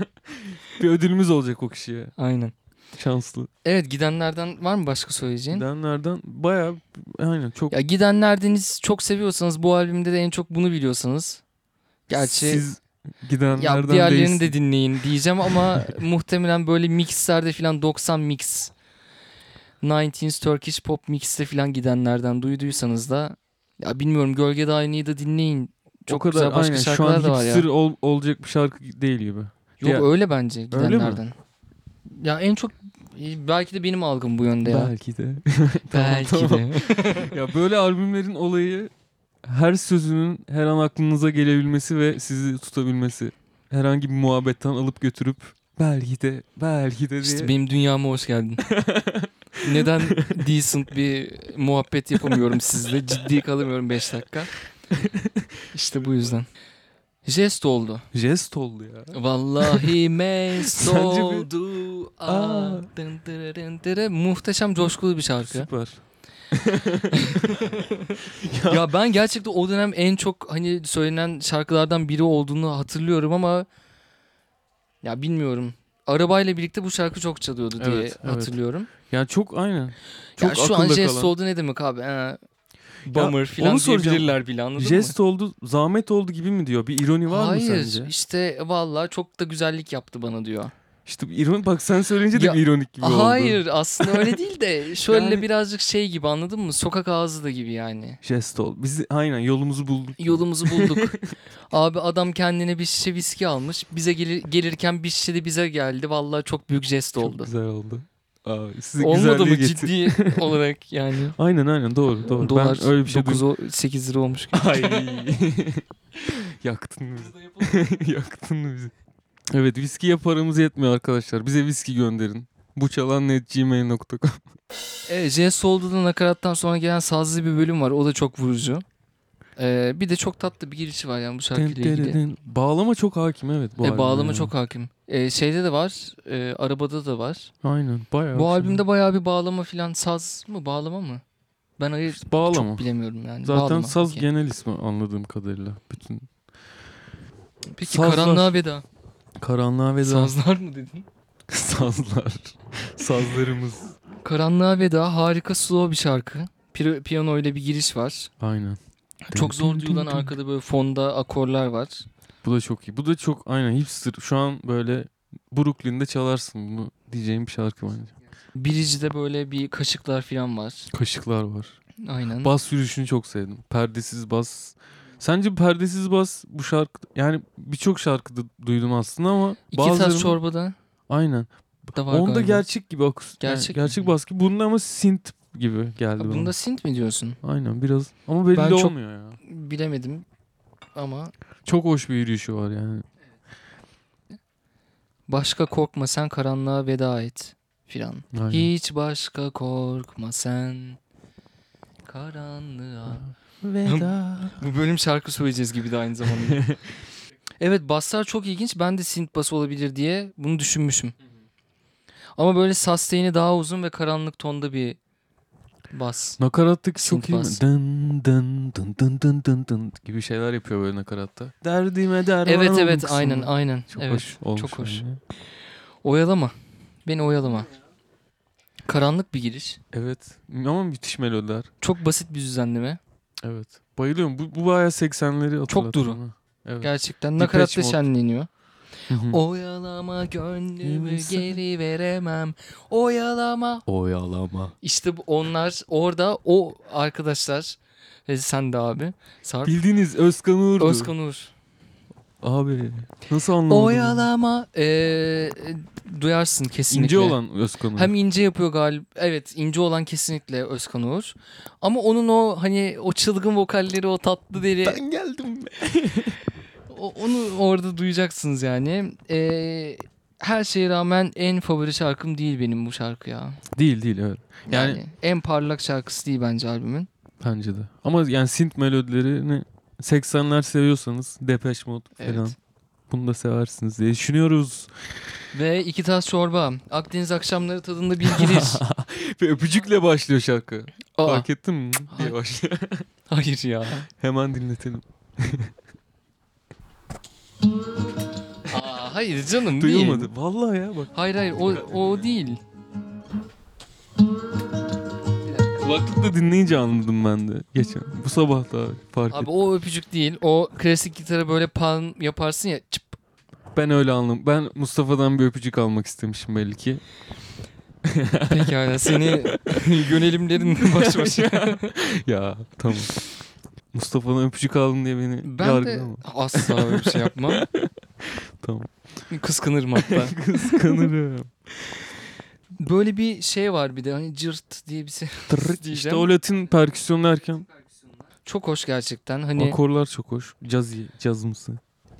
Bir ödülümüz olacak o kişiye. Aynen. Şanslı. Evet gidenlerden var mı başka söyleyeceğin? Gidenlerden bayağı aynen çok Ya gidenlerdeniz çok seviyorsanız bu albümde de en çok bunu biliyorsanız. Gerçi siz gidenlerden ya diğerlerini değilsiniz. de dinleyin [laughs] diyeceğim ama muhtemelen böyle mixlerde filan 90 mix 19's Turkish Pop mixte filan gidenlerden duyduysanız da ya bilmiyorum Gölge Dayanı'yı da dinleyin. Çok o kadar güzel başka aynen, şarkılar şu an da var ya. hipster ol- olacak bir şarkı değil gibi. Yok Ya- öyle bence mi? gidenlerden. Ya en çok e, belki de benim algım bu yönde ya. Belki de. Tamam, tamam. de. ya böyle albümlerin olayı her sözünün her an aklınıza gelebilmesi ve sizi tutabilmesi. Herhangi bir muhabbetten alıp götürüp belki de belki de diye. işte benim dünyama [laughs] hoş geldin. Neden decent bir muhabbet yapamıyorum sizle? Ciddi kalamıyorum [laughs] 5 dakika. İşte bu yüzden. Jest oldu. Jest oldu ya. [laughs] Vallahi mest Sence bir- oldu. Aa, Aa. dın dırı dın dırı. Muhteşem coşkulu bir şarkı. Süper. Ya ben gerçekten o dönem en çok hani söylenen şarkılardan biri olduğunu hatırlıyorum ama ya bilmiyorum. Arabayla birlikte bu şarkı çok çalıyordu diye Evet, evet. hatırlıyorum. Yani çok aynen. Ya Çok şu an akılda jest kalan. oldu ne demek abi? Ee, bummer falan onu soracağım. diyebilirler bile anladın mı? Jest oldu, zahmet oldu gibi mi diyor? Bir ironi var Hayır mı sence? işte vallahi çok da güzellik yaptı bana diyor. İşte bir ironi bak sen söyleyince de Ya, bir ironik gibi oldu. Hayır [laughs] aslında öyle değil de şöyle Yani- birazcık şey gibi anladın mı? Sokak ağzı da [laughs] gibi yani. Jest oldu. Biz aynen yolumuzu bulduk. [laughs] Yolumuzu bulduk. Abi adam kendine bir şişe viski almış. Bize gelir, gelirken bir şişe de bize geldi. Vallahi çok büyük jest Çok oldu. güzel oldu. Abi, size Olmadı güzelliği mı getir- ciddi olarak yani? Aynen aynen doğru doğru. Dolar ben öyle bir şey 9 o- 8 lira olmuş. Ay. [laughs] Yaktın bizi. [laughs] Yaktın bizi. Evet viskiye paramız yetmiyor arkadaşlar. Bize viski gönderin. Buçalan.gmail.com E, J Solda'da nakarattan sonra gelen sazlı bir bölüm var. O da çok vurucu. E, bir de çok tatlı bir girişi var yani bu şarkıyla ilgili. Bağlama çok hakim evet bu E, albüme bağlama yani. çok hakim. E, şeyde de var. e, arabada da var. Aynen bayağı. Bu hoşuma albümde bayağı bir bağlama filan. Saz mı bağlama mı? Ben hayır gitti. bağlama. çok bilemiyorum yani. Zaten Bağlama. saz Peki. genel ismi anladığım kadarıyla. Bütün Peki Sazlar. karanlığa veda. karanlığa veda. Sazlar mı dedin? [laughs] Sazlar. Sazlarımız. Karanlığa veda harika slow bir şarkı. Piro- Piyano ile bir giriş var. Aynen. Çok zor duyulan arkada böyle fonda akorlar var. Bu da çok iyi. Bu da çok aynen hipster. Şu an böyle Brooklyn'de çalarsın bunu diyeceğim bir şarkı bence. Biricide böyle bir kaşıklar filan var. Kaşıklar var. Aynen. Bas sürüşünü çok sevdim. Perdesiz bas. Sence perdesiz bas bu şarkı yani birçok şarkıda duydum aslında ama İki bazılarını- tas çorbada aynen. da var Onda galiba. gerçek gibi akus yani Gerçek gerçek, mi? bas gibi. Bunda ama synth gibi geldi Ha, bana. Bunda sint mi diyorsun? Aynen biraz ama belli Ben çok- olmuyor ya. Bilemedim ama Çok hoş bir yürüyüşü var yani. başka korkma sen karanlığa veda et filan. Aynen. Hiç başka korkma sen karanlığa. Veda. Bu bölüm şarkı söyleyeceğiz gibi de [laughs] aynı zamanda. evet baslar çok ilginç. Ben de synth bası olabilir diye bunu düşünmüşüm. Ama böyle sustain'i daha uzun ve karanlık tonda bir bas. Nakarattaki Synth çok iyi mi? bas. Dın dın dın dın dın dın dın gibi şeyler yapıyor böyle nakaratta. Derdime derman Evet olun evet kısmı. aynen aynen. Çok evet. hoş olmuş. çok hoş. yani. Oyalama. Beni oyalama. Karanlık bir giriş. Evet ama müthiş melodiler. Çok basit bir düzenleme. Evet. Bayılıyorum. Bu, bu bayağı 80'leri hatırlattı. duru. bana. Evet. Gerçekten Depeche nakaratta Mode. şenleniyor. Hı hı. Oyalama gönlümü Neyse. geri veremem. Oyalama. Oyalama. İşte bu- onlar orada o arkadaşlar. Ve sen de abi. Sarp. Bildiğiniz Özkan Uğur'du. Özkan Uğur. Abi nasıl anlamadım? Oyalama. ee, e, duyarsın kesinlikle. İnce olan Özkan Uğur. Hem ince yapıyor galiba. Evet ince olan kesinlikle Özkan Uğur. Ama onun o hani o çılgın vokalleri o tatlı deri. Ben geldim. O- onu orada duyacaksınız yani. Ee, her şeye rağmen en favori şarkım değil benim bu şarkı ya. Değil değil evet. Yani, Yani- en parlak şarkısı değil bence albümün. Bence de. Ama yani synth melodilerini 80'ler seviyorsanız Depeche Mode Evet. falan bunu da seversiniz diye [laughs] düşünüyoruz. Ve iki tas çorba. Akdeniz akşamları tadında bir [laughs] giriş. Ve öpücükle başlıyor şarkı. Aa, Fark ettin mi? Hayır. diye başlıyor. [laughs] hayır ya. Hemen dinletelim. Aa, hayır canım değil. Duyulmadı. Vallahi ya bak. Hayır hayır o, o değil. Kulaklıkla dinleyince anladım ben de. Geçen. Bu sabah da fark Abi ettim. o öpücük değil. O klasik gitara böyle pan yaparsın ya. Çıp. Ben öyle anladım. Ben Mustafa'dan bir öpücük almak istemişim belli [laughs] ki. [laughs] Pekala seni yönelimlerin baş başa. ya tamam. Mustafa'dan öpücük aldın diye beni Ben de [laughs] yargılama. asla öyle bir şey yapmam. Tamam. Kıskanırım hatta. Kıskanırım. Böyle bir şey var bir de hani cırt diye bir şey. [laughs] işte Diyeceğim. o Latin perküsyon derken Çok hoş gerçekten. Hani Akorlar çok hoş. Caz iyi, cazımsı.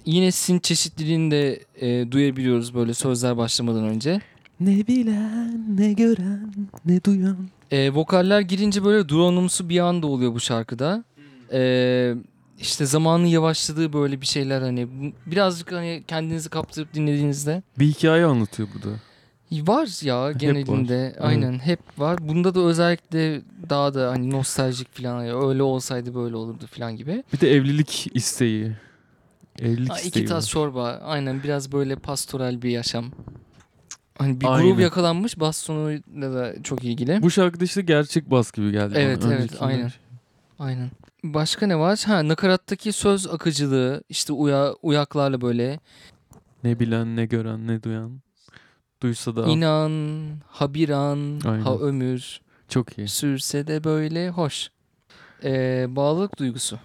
yine sizin çeşitliliğini de e, duyabiliyoruz böyle sözler başlamadan önce. Ne bilen, ne gören, ne duyan. E, vokaller girince böyle drone'umsu bir anda oluyor bu şarkıda. E, işte zamanın yavaşladığı böyle bir şeyler hani bu- birazcık hani kendinizi kaptırıp dinlediğinizde Bir hikaye anlatıyor bu da. var ya genelinde var. aynen hep var. Bunda da özellikle daha da hani nostaljik falan hani öyle olsaydı böyle olurdu falan gibi. Bir de evlilik isteği. Evlilik Ha, isteği. iki tas var. çorba. Aynen biraz böyle pastoral bir yaşam. Hani bir Aynen. grup yakalanmış. Bastonuyla da çok ilgili. Bu şarkıda işte gerçek bas gibi geldi. bana. Evet, evet, Öncekinden aynen. şey. Aynen. Başka ne var? Ha nakarattaki söz akıcılığı işte uya, uyaklarla böyle Ne bilen, ne gören, ne duyan. Duysa da al. inan, habiran, Aynen. ha ömür çok iyi. sürse de böyle hoş. Ee, [laughs] bağlılık duygusu.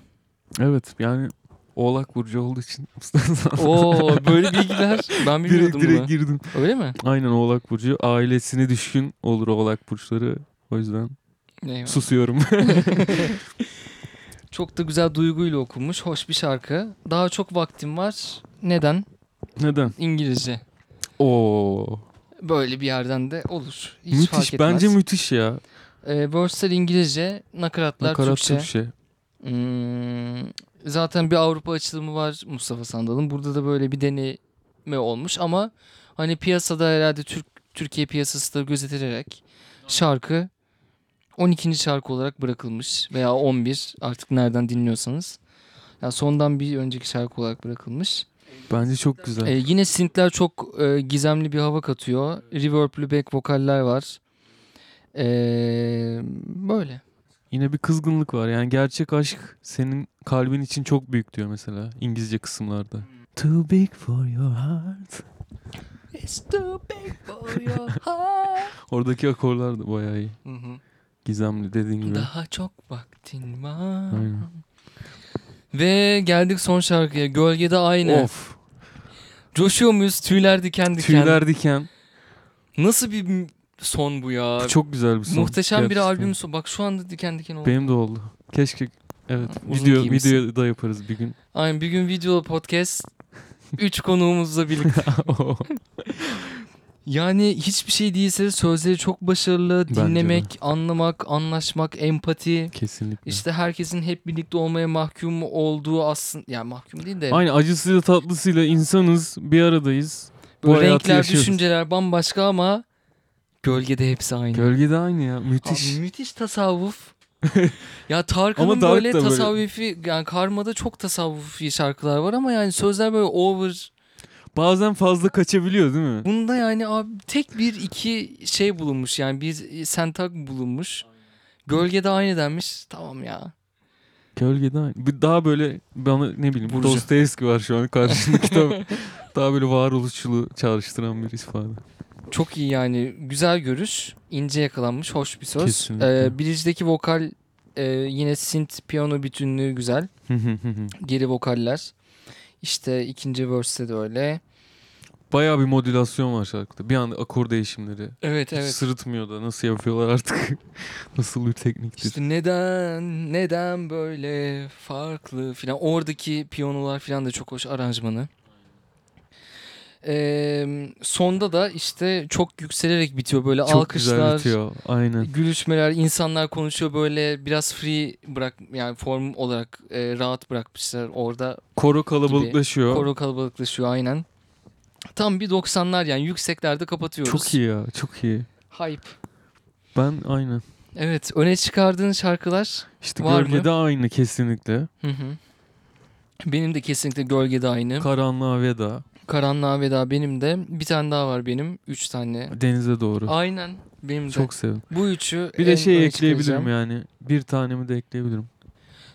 Evet yani Oğlak Burcu olduğu için [laughs] Mustafa Oo böyle bilgiler. Ben direkt bilmiyordum direkt bunu. girdim. Öyle mi? Aynen Oğlak Burcu. Ailesine düşkün olur Oğlak Burçları. O yüzden Eyvallah. susuyorum. [laughs] Çok da güzel duyguyla okunmuş. Hoş bir şarkı. Daha çok vaktim var. Neden? Neden? İngilizce. Oo. Böyle bir yerden de olur. Hiç fark müthiş. etmez. Bence müthiş ya. Ee, Verse'ler İngilizce, nakaratlar Nakarat Türkçe. Türkçe. Hmm, zaten bir Avrupa açılımı var Mustafa Sandal'ın. Burada da böyle bir deneme olmuş ama hani piyasada herhalde Türk Türkiye piyasası da gözetilerek şarkı 12. şarkı olarak bırakılmış veya 11 artık nereden dinliyorsanız. Ya sondan bir önceki şarkı olarak bırakılmış. Bence çok güzel. Ee, yine synthler çok e, gizemli bir hava katıyor. Reverb'lü back vokaller var. Ee, böyle. Yine bir kızgınlık var. Yani gerçek aşk senin kalbin için çok büyük diyor mesela İngilizce kısımlarda. Too big for your heart. It's too big for your [laughs] heart. Oradaki akorlar da bayağı iyi. Gizemli dediğin gibi. Daha çok vaktin var. Aynen. Ve geldik son şarkıya. Gölgede aynı. Of. Coşuyor muyuz? Tüyler diken diken. Tüyler diken. Nasıl bir m- son bu ya? Bu çok güzel bir son. Muhteşem bir Gerçekten. albüm son. Bak şu anda diken diken oldu. Benim de oldu. Keşke evet Ha, uzun video giymişsin. video da yaparız bir [laughs] gün. Aynen bir gün video podcast. Üç konuğumuzla birlikte. Yani hiçbir şey değilse sözleri çok başarılı. Bence de. Dinlemek, anlamak, anlaşmak, empati. Kesinlikle. İşte herkesin hep birlikte olmaya mahkum olduğu aslında yani mahkum değil de Aynı acısıyla tatlısıyla insanız, bir aradayız. Bu böyle hayatı renkler, yaşıyoruz. düşünceler bambaşka ama gölgede hepsi aynı. Gölgede aynı ya. Abi Müthiş. [laughs] müthiş tasavvuf. ya Tarkan'ın Ama Dark böyle da böyle. tasavvufi yani Karma'da çok tasavvufi şarkılar var ama yani sözler böyle over. Bazen fazla kaçabiliyor değil mi? Bunda yani abi tek bir iki şey bulunmuş yani bir sentak bulunmuş. Gölgede aynı denmiş. Tamam ya. Gölgede aynı. Bir Daha böyle bana ne bileyim Vurucu. Dostoyevski var şu an karşımda [laughs] kitap. Daha böyle varoluşçuluğu çağrıştıran bir [laughs] ifade. Çok iyi yani. Güzel görüş. ince yakalanmış. Hoş bir söz. Kesinlikle. Ee, Bridge'deki vokal e, yine synth piyano bütünlüğü güzel. Geri vokaller. İşte ikinci verse'de de öyle. Bayağı bir modülasyon var şarkıda. Bir anda akor değişimleri. Evet Hiç evet. sırıtmıyor da nasıl yapıyorlar artık. [laughs] nasıl bir tekniktir. İşte neden neden böyle farklı filan oradaki piyanolar filan da çok hoş aranjmanı. Ee, sonda da işte çok yükselerek bitiyor böyle Çok güzel alkışlar, bitiyor. Aynen. gülüşmeler, insanlar konuşuyor böyle biraz free bırak yani form olarak e, rahat bırakmışlar orada Koro kalabalıklaşıyor. koro kalabalıklaşıyor aynen. Tam bir 90'lar yani yükseklerde kapatıyoruz. Çok iyi ya. Çok iyi. Hype. Ben aynen. Evet öne çıkardığın şarkılar İşte Var mı? gölgede aynı kesinlikle. Hı hı. Benim de kesinlikle gölgede aynı. Karanlığa veda. Karanlığa veda benim de. Bir tane daha var benim. Üç tane. Denize doğru. Aynen benim de. Çok sevdim. Bu üçü Bir de en şey öne ekleyebilirim çıkaracağım. yani. Bir tanemi de ekleyebilirim.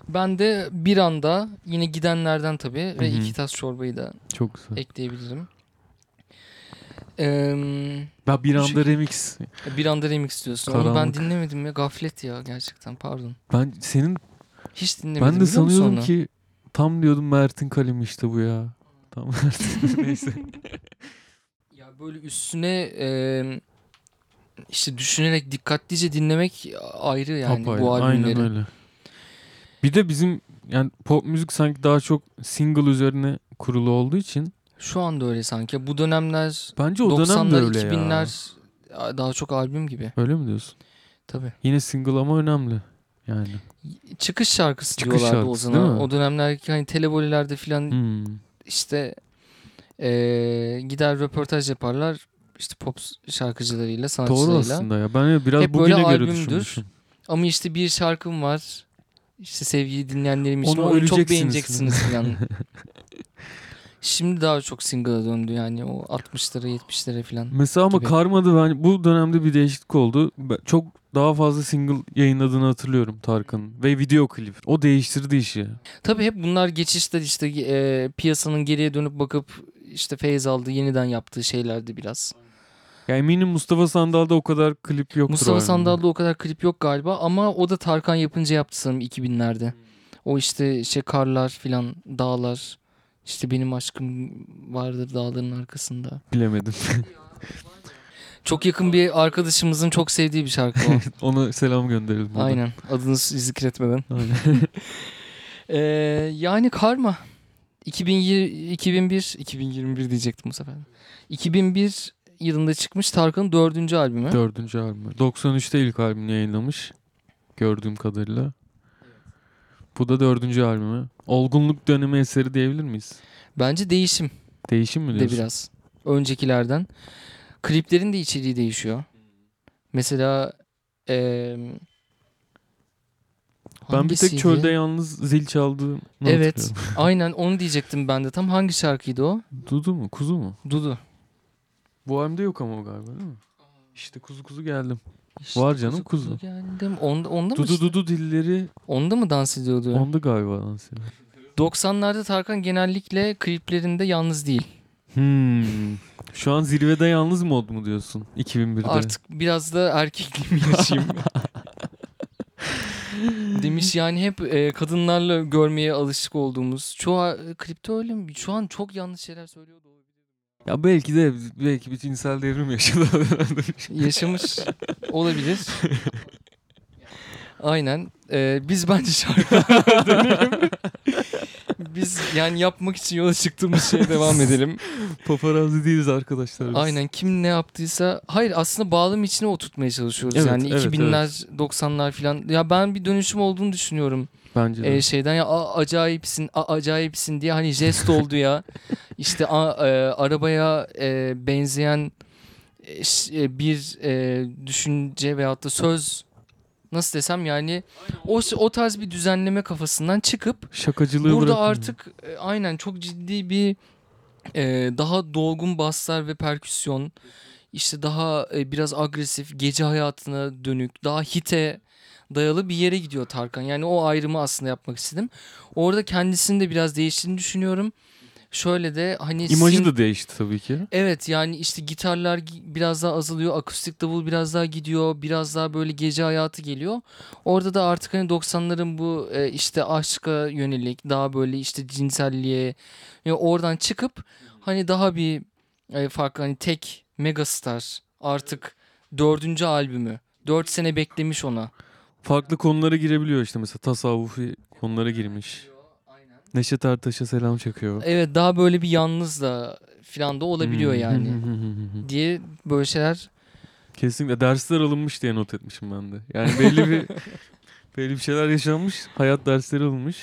Ben de bir anda yine gidenlerden tabii ve Hı hı. iki tas çorbayı da Çok E, güzel. ekleyebilirim. Eee, Ben bir Bu anda şekilde- remix. bir anda remix diyorsun. Onu ben Karanlık. dinlemedim ya. Gaflet ya gerçekten pardon. Ben senin Hiç dinlemedim. ben de biliyor musun sanıyordum onu? ki tam diyordum Mert'in kalemi işte bu ya. Tam Mert'in. [laughs] Neyse. Ya böyle üstüne eee, işte düşünerek dikkatlice dinlemek ayrı yani Apayrı. bu albümleri. Aynen öyle. Bir de bizim yani pop müzik sanki daha çok single üzerine kurulu olduğu için Şu anda öyle sanki. Bu dönemler bence o dönem de 90'lar öyle 2000'ler daha çok albüm gibi. ya. Öyle mi diyorsun? Tabii. Yine single ama önemli. Yani. Çıkış şarkısı Çıkış diyorlardı şarkısı, o değil zaman. mi? O dönemlerdeki hani televolelerde filan Hmm. işte eee, gider röportaj yaparlar. İşte pop şarkıcılarıyla, Doğru sanatçılarıyla. aslında ya. Ben biraz Hep böyle bugüne göre albümdür. düşünmüşüm. Ama işte bir şarkım var. İşte sevgili dinleyenlerim için Onu onu, çok öleceksiniz. beğeneceksiniz [laughs] filan. Şimdi daha çok single'a döndü yani o 60'lara 70'lere filan. Mesela ama Gibi. karmadı ben bu dönemde bir değişiklik oldu. Ben- Çok daha fazla single yayınladığını hatırlıyorum Tarkan'ın. Ve video klip. O değiştirdi işi. Tabii hep bunlar geçişler işte e, piyasanın geriye dönüp bakıp işte feyz aldığı yeniden yaptığı şeylerdi biraz. Ya eminim Mustafa Sandal'da o kadar klip yoktur. o Mustafa halinde. Sandal'da o kadar klip yok galiba ama o da Tarkan yapınca yaptı sanırım 2000'lerde. O işte şey karlar filan dağlar işte benim aşkım vardır dağların arkasında. Bilemedim. [laughs] Çok yakın bir arkadaşımızın çok sevdiği bir şarkı [laughs] o. Ona selam gönderelim. buradan. Aynen adını zikretmeden. Aynen. [laughs] Ee, yani karma. 2020, 2001, 2021 diyecektim bu sefer. 2001 yılında çıkmış Tarkan'ın dördüncü albümü. Dördüncü albümü. 93'te ilk albümünü yayınlamış. Gördüğüm kadarıyla. Bu da dördüncü albümü. Olgunluk dönemi eseri diyebilir miyiz? Bence değişim Değişim mi de diyorsun? biraz. Öncekilerden. Kliplerin de içeriği değişiyor. Mesela eee Ben bir hangisiydi? tek çölde yalnız zil çaldığını Evet. hatırlıyorum. Aynen onu diyecektim ben de. Tam hangi şarkıydı o? Dudu mu? Kuzu mu? Dudu. Bu albümde yok ama o galiba değil mi? İşte kuzu kuzu geldim. Var canım, kuzu. Geldim. Onda, onda mı? Dudu dudu dilleri Onda mı dans ediyordu? onda galiba lan senin. 90'larda Tarkan genellikle kliplerinde yalnız değil. Hmm. Şu an zirvede yalnız mod mu diyorsun 2001'de? Artık biraz da erkekliğimi [laughs] yaşayayım. Demiş yani hep e, kadınlarla görmeye alışık olduğumuz. Çoğu e, klipte öyle mi? Şu an çok yanlış şeyler söylüyor da olabilir. Ya belki de belki bir cinsel devrim yaşadı. o dönemde. [laughs] Yaşamış olabilir. Aynen. E, biz bence [laughs] şarkılara dönelim. biz yani yapmak için yola çıktığımız şeye devam edelim. Paparazzi değiliz arkadaşlar biz. Aynen kim ne yaptıysa. Hayır aslında bağlam içine oturtmaya çalışıyoruz. Evet, yani evet, 2000'ler 90'lar falan. Ya ben bir dönüşüm olduğunu düşünüyorum. Bence de. Ee, şeyden ya "Aa, acayipsin a, acayipsin diye hani jest [laughs] oldu ya. İşte a- e, arabaya e, benzeyen e, ş- e, bir e, düşünce veyahut da söz nasıl desem yani o, o tarz bir düzenleme kafasından çıkıp Şakacılığı Burada bırakın. artık e, aynen çok ciddi bir e, daha dolgun baslar ve perküsyon işte daha e, biraz agresif gece hayatına dönük daha hite dayalı bir yere gidiyor Tarkan. Yani o ayrımı aslında yapmak istedim. Orada kendisini de biraz değiştiğini düşünüyorum. Şöyle de hani imajı sin- da değişti tabii ki. Evet yani işte gitarlar gi- biraz daha azalıyor, akustik davul biraz daha gidiyor, biraz daha böyle gece hayatı geliyor. Orada da artık hani 90'ların bu e, işte aşka yönelik daha böyle işte cinselliğe yani oradan çıkıp hani daha bir e, farklı hani tek megastar artık dördüncü albümü. Dört sene beklemiş ona. Farklı konulara girebiliyor işte mesela tasavvufi konulara girmiş. Neşet Ertaş'a selam çakıyor. Evet daha böyle bir yalnız da filan da E, olabiliyor Hmm. yani diye böyle şeyler [laughs] Kesinlikle dersler alınmış diye not etmişim ben de. Yani belli [laughs] bir belli bir şeyler yaşanmış, hayat dersleri alınmış.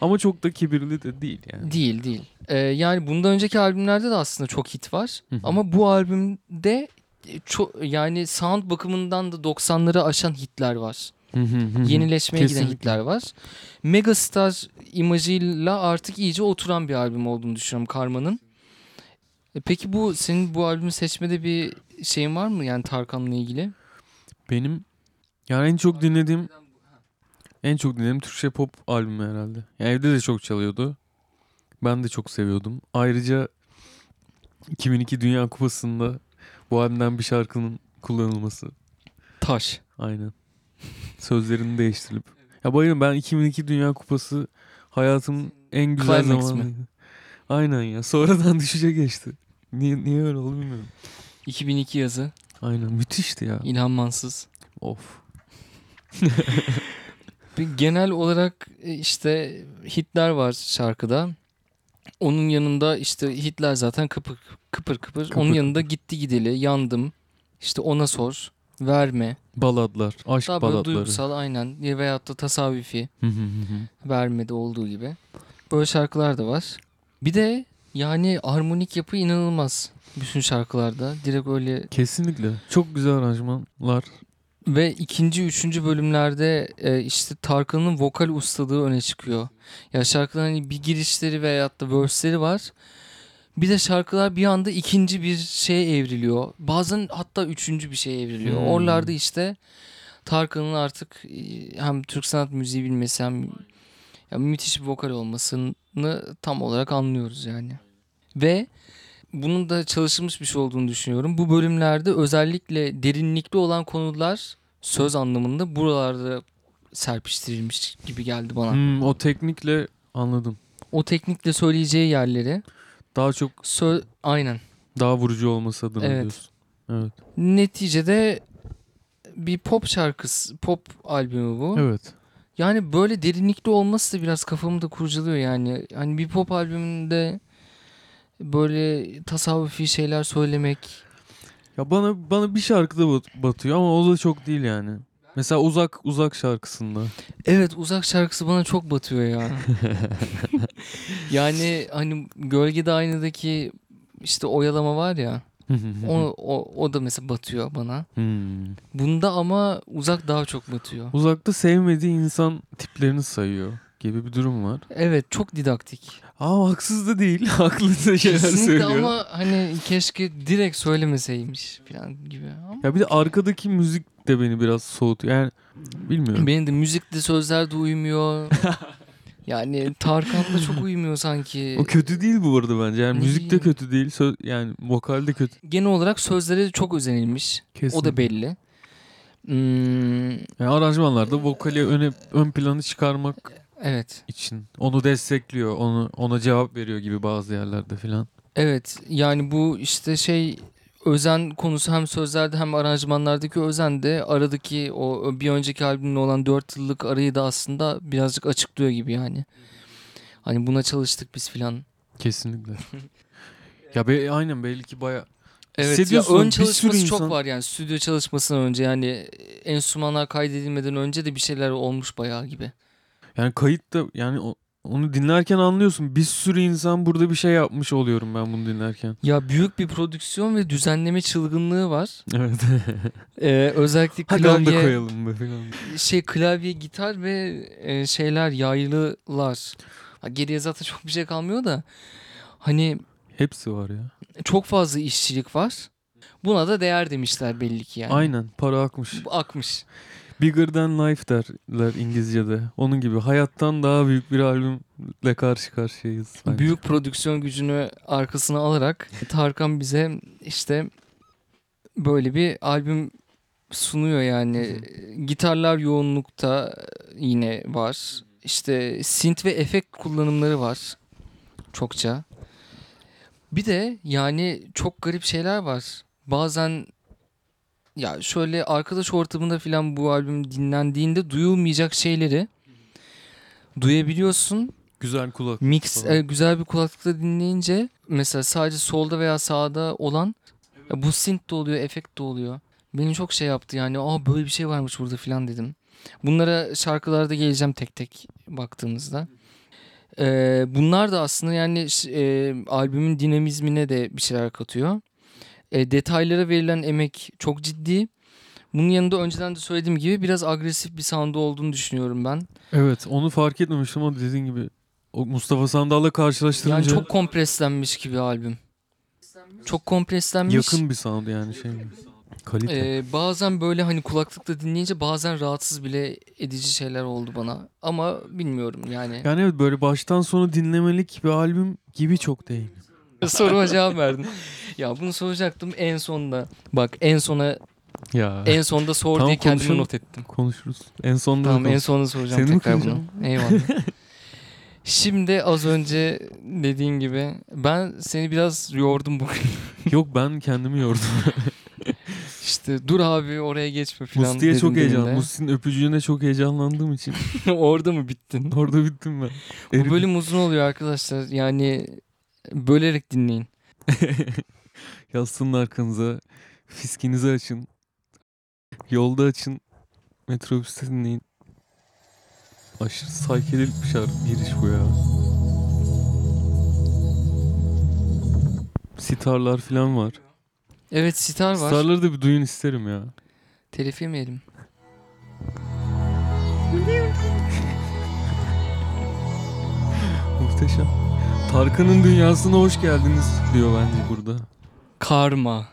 Ama çok da kibirli de değil yani. Değil değil. Ee, yani bundan önceki albümlerde de aslında çok hit var. Hı hı. Ama bu albümde e, ço- yani sound bakımından da 90'ları aşan hitler var. Yenileşmeye giden Kesinlikle. hitler var. Megastar imajıyla artık iyice oturan bir albüm olduğunu düşünüyorum Karma'nın. E, Peki bu senin bu albümü seçmede bir şeyin var mı yani Tarkan'la ilgili? Benim yani en çok dinlediğim en çok dinlediğim Türkçe pop albümü herhalde. Yani evde de çok çalıyordu. Ben de çok seviyordum. Ayrıca 2002 Dünya Kupası'nda bu albümden bir şarkının kullanılması. Taş. Aynen. [laughs] Sözlerini değiştirip. Ya bayılırım ben 2002 Dünya Kupası hayatımın en güzel Climax zamanı. Aynen ya. Sonradan [laughs] düşüşe geçti. Niye, niye öyle oldu bilmiyorum. 2002 yazı. Aynen müthişti ya. İlhan Mansız. Of. Bir genel olarak e, işte Hitler var şarkıda. Onun yanında işte Hitler zaten kıpır kıpır kıpır. Kıpır Onun kıpır. yanında gitti gideli yandım. İşte ona sor. Verme. Baladlar. Aşk Daha böyle baladları. duygusal aynen. Ya Veyahut da tasavvufi. Hı hı hı hı. Vermede olduğu gibi. Böyle şarkılar da var. Bir de yani harmonik yapı inanılmaz. Bütün şarkılarda. Direkt öyle Kesinlikle. Çok güzel aranjmanlar. Ve ikinci, üçüncü bölümlerde e, işte Tarkan'ın vokal ustalığı öne çıkıyor. Ya şarkıların hani bir girişleri veyahut da verse'leri var. Bir de şarkılar bir anda ikinci bir şeye evriliyor. Bazen hatta üçüncü bir şeye evriliyor. Hmm. Oralarda işte Tarkan'ın artık e, hem Türk sanat müziği bilmesi hem ya müthiş bir vokal olmasını tam olarak anlıyoruz yani. Ve bunun da çalışılmış bir şey olduğunu düşünüyorum. Bu bölümlerde özellikle derinlikli olan konular söz anlamında buralarda serpiştirilmiş gibi geldi bana. Hmm, o teknikle anladım. O teknikle söyleyeceği yerleri Daha çok sö- aynen. daha vurucu olması adına Evet. diyorsun. Evet. Neticede bir pop şarkısı, pop albümü bu. Evet. Yani böyle derinlikli olması da biraz kafamı da kurcalıyor yani. Hani bir pop albümünde böyle tasavvufi şeyler söylemek. Ya bana bana bir şarkıda bat- batıyor ama o da çok değil yani. Mesela uzak uzak şarkısında. Evet uzak şarkısı bana çok batıyor [laughs] ya. yani hani gölgede aynadaki işte oyalama var ya. O, o, o da mesela batıyor bana. Hmm. Bunda ama uzak daha çok batıyor. Uzakta sevmediği insan tiplerini sayıyor gibi bir durum var. Evet çok didaktik. Aa haksız da değil. [laughs] Haklı da şeyler Kesinlikle söylüyor. ama hani keşke direkt söylemeseymiş falan gibi. Ama Ya bir de arkadaki müzik de beni biraz soğutuyor. Yani bilmiyorum. Benim de müzikte sözler [laughs] de uymuyor. yani Tarkan'la çok uymuyor sanki. O kötü değil bu arada bence. Yani Ne müzik de bileyim. kötü değil. Söz, yani vokal de kötü. Genel olarak sözlere çok özenilmiş. O da belli. Hmm, Yani aranjmanlarda vokali öne, ön planı çıkarmak evet. için. Onu destekliyor. Onu ona cevap veriyor gibi bazı yerlerde filan. Evet. Yani bu işte şey özen konusu hem sözlerde hem aranjmanlardaki özen de aradaki o bir önceki albümle olan 4 yıllık arayı da aslında birazcık açıklıyor gibi yani. Hani buna çalıştık biz filan. Kesinlikle. ya be, aynen belki baya Evet ya Hissediyorsun ön bir sürü çalışması çok insan- var yani stüdyo çalışmasından önce yani enstrümanlar kaydedilmeden önce de bir şeyler olmuş bayağı gibi. yani kayıt da yani o- onu dinlerken anlıyorsun. Bir sürü insan burada bir şey yapmış oluyorum ben bunu dinlerken. Ya büyük bir prodüksiyon ve düzenleme çılgınlığı var. Evet. Ee, özellikle Hadi onu da klavye, koyalım mı filan. şey klavye, gitar ve e, şeyler yaylılar. Ha, Geriye zaten [laughs] çok bir şey kalmıyor da hani Hepsi var ya. çok fazla işçilik var. Buna da değer demişler belli ki yani. Aynen para akmış. Bu Akmış. Bigger Than Life derler İngilizce'de. Onun gibi hayattan daha büyük bir albümle karşı karşıyayız. bence. büyük prodüksiyon gücünü arkasına alarak Tarkan bize işte böyle bir albüm sunuyor yani. Gitarlar yoğunlukta yine var. İşte synth ve efekt kullanımları var çokça. Bir de yani çok garip şeyler var. Bazen ya şöyle arkadaş ortamında filan bu albüm dinlendiğinde duyulmayacak şeyleri duyabiliyorsun Güzel kulak. Mix falan. e, güzel bir kulaklıkla dinleyince mesela sadece solda veya sağda olan ya bu synth de oluyor, efekt de oluyor. Beni çok şey yaptı yani aa böyle bir şey varmış burada filan dedim. Bunlara şarkılarda geleceğim tek tek baktığımızda. E, bunlar da aslında yani ş- e, albümün dinamizmine de bir şeyler katıyor. E, detaylara verilen emek çok ciddi. Bunun yanında önceden de söylediğim gibi biraz agresif bir sound'u olduğunu düşünüyorum ben. Evet onu fark etmemiştim ama dediğin gibi o Mustafa Sandal'la karşılaştırınca Yani çok kompreslenmiş gibi albüm. Çok kompreslenmiş. yakın bir sound yani şey. mi? Kalite. Ee, bazen böyle hani kulaklıkla dinleyince bazen rahatsız bile edici şeyler oldu bana. Ama bilmiyorum [laughs] yani. yani evet böyle baştan sona dinlemelik bir albüm gibi çok değil. Soruma cevap verdin. Ya bunu soracaktım en sonda. Bak en sona Ya en sonda sor Tamam, diye kendime konuşalım. not ettim. konuşuruz. En sonunda da Tamam en konuş- sonunda soracağım Seni mi tekrar bunu. kıracağım? Eyvallah. [laughs] Şimdi az önce dediğin gibi ben seni biraz yordum bugün. [laughs] Yok ben kendimi yordum. İşte dur abi oraya geçme falan Musti'ye dedin çok heyecanlı. demin de. Musti'nin öpücüğüne çok heyecanlandığım için [laughs] [laughs] Orada mı bittin? orada bittim ben. Bu Eridim. bölüm uzun oluyor arkadaşlar. Yani bölerek dinleyin. Yastığın arkanıza, fiskinizi açın. Yolda açın. Metrobüste dinleyin. Aşırı saykedelik bir şarkı giriş bu ya. Sitarlar falan var. Evet sitar var. Sitarları da bir duyun isterim ya. Telif yemeyelim. Muhteşem. Tarkan'ın dünyasına hoş geldiniz diyor bence burada. Karma.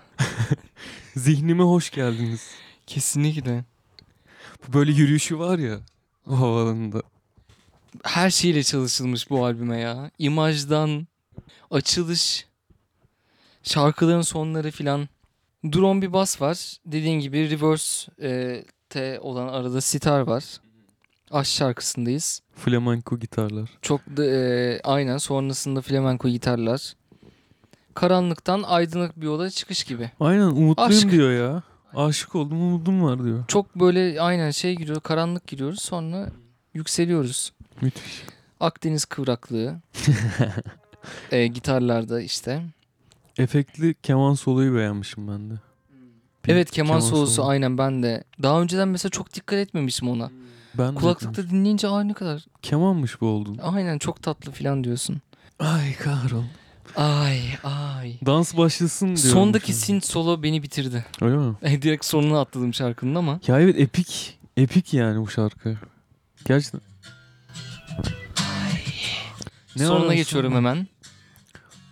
Zihnime hoş geldiniz. Kesinlikle. Böyle yürüyüşü var ya o havalanında. Her şeyle çalışılmış bu albüme ya. İmajdan, açılış, şarkıların sonları filan. Drone bir bas var. Dediğin gibi reverse e, te olan arada sitar var. Aşk şarkısındayız. Flamenco gitarlar. Çok da e, aynen sonrasında flamenko gitarlar. Karanlıktan aydınlık bir yola çıkış gibi. Aynen umutluyum Aşk. diyor ya. Aşık oldum umudum var diyor. Çok böyle aynen şey giriyor, karanlık giriyoruz sonra yükseliyoruz. Müthiş. Akdeniz kıvraklığı. E, gitarlarda işte. Efektli keman soloyu beğenmişim ben de. Bir Hmm. evet keman, solosu solo. aynen ben de. Daha önceden mesela çok dikkat etmemiştim ona. Ben de Kulaklıkta dinleyince aynı kadar. Kemanmış bu oldun. Aynen çok tatlı falan diyorsun. Ay kahrol. Ay ay. Dans başlasın diyorum. Sondaki şimdi. synth solo beni bitirdi. [laughs] Öyle mi? Direkt sonuna atladım şarkının ama. Ya evet epik. Epik yani bu şarkı. Gerçekten. Ne Sonuna ararsın? geçiyorum hemen.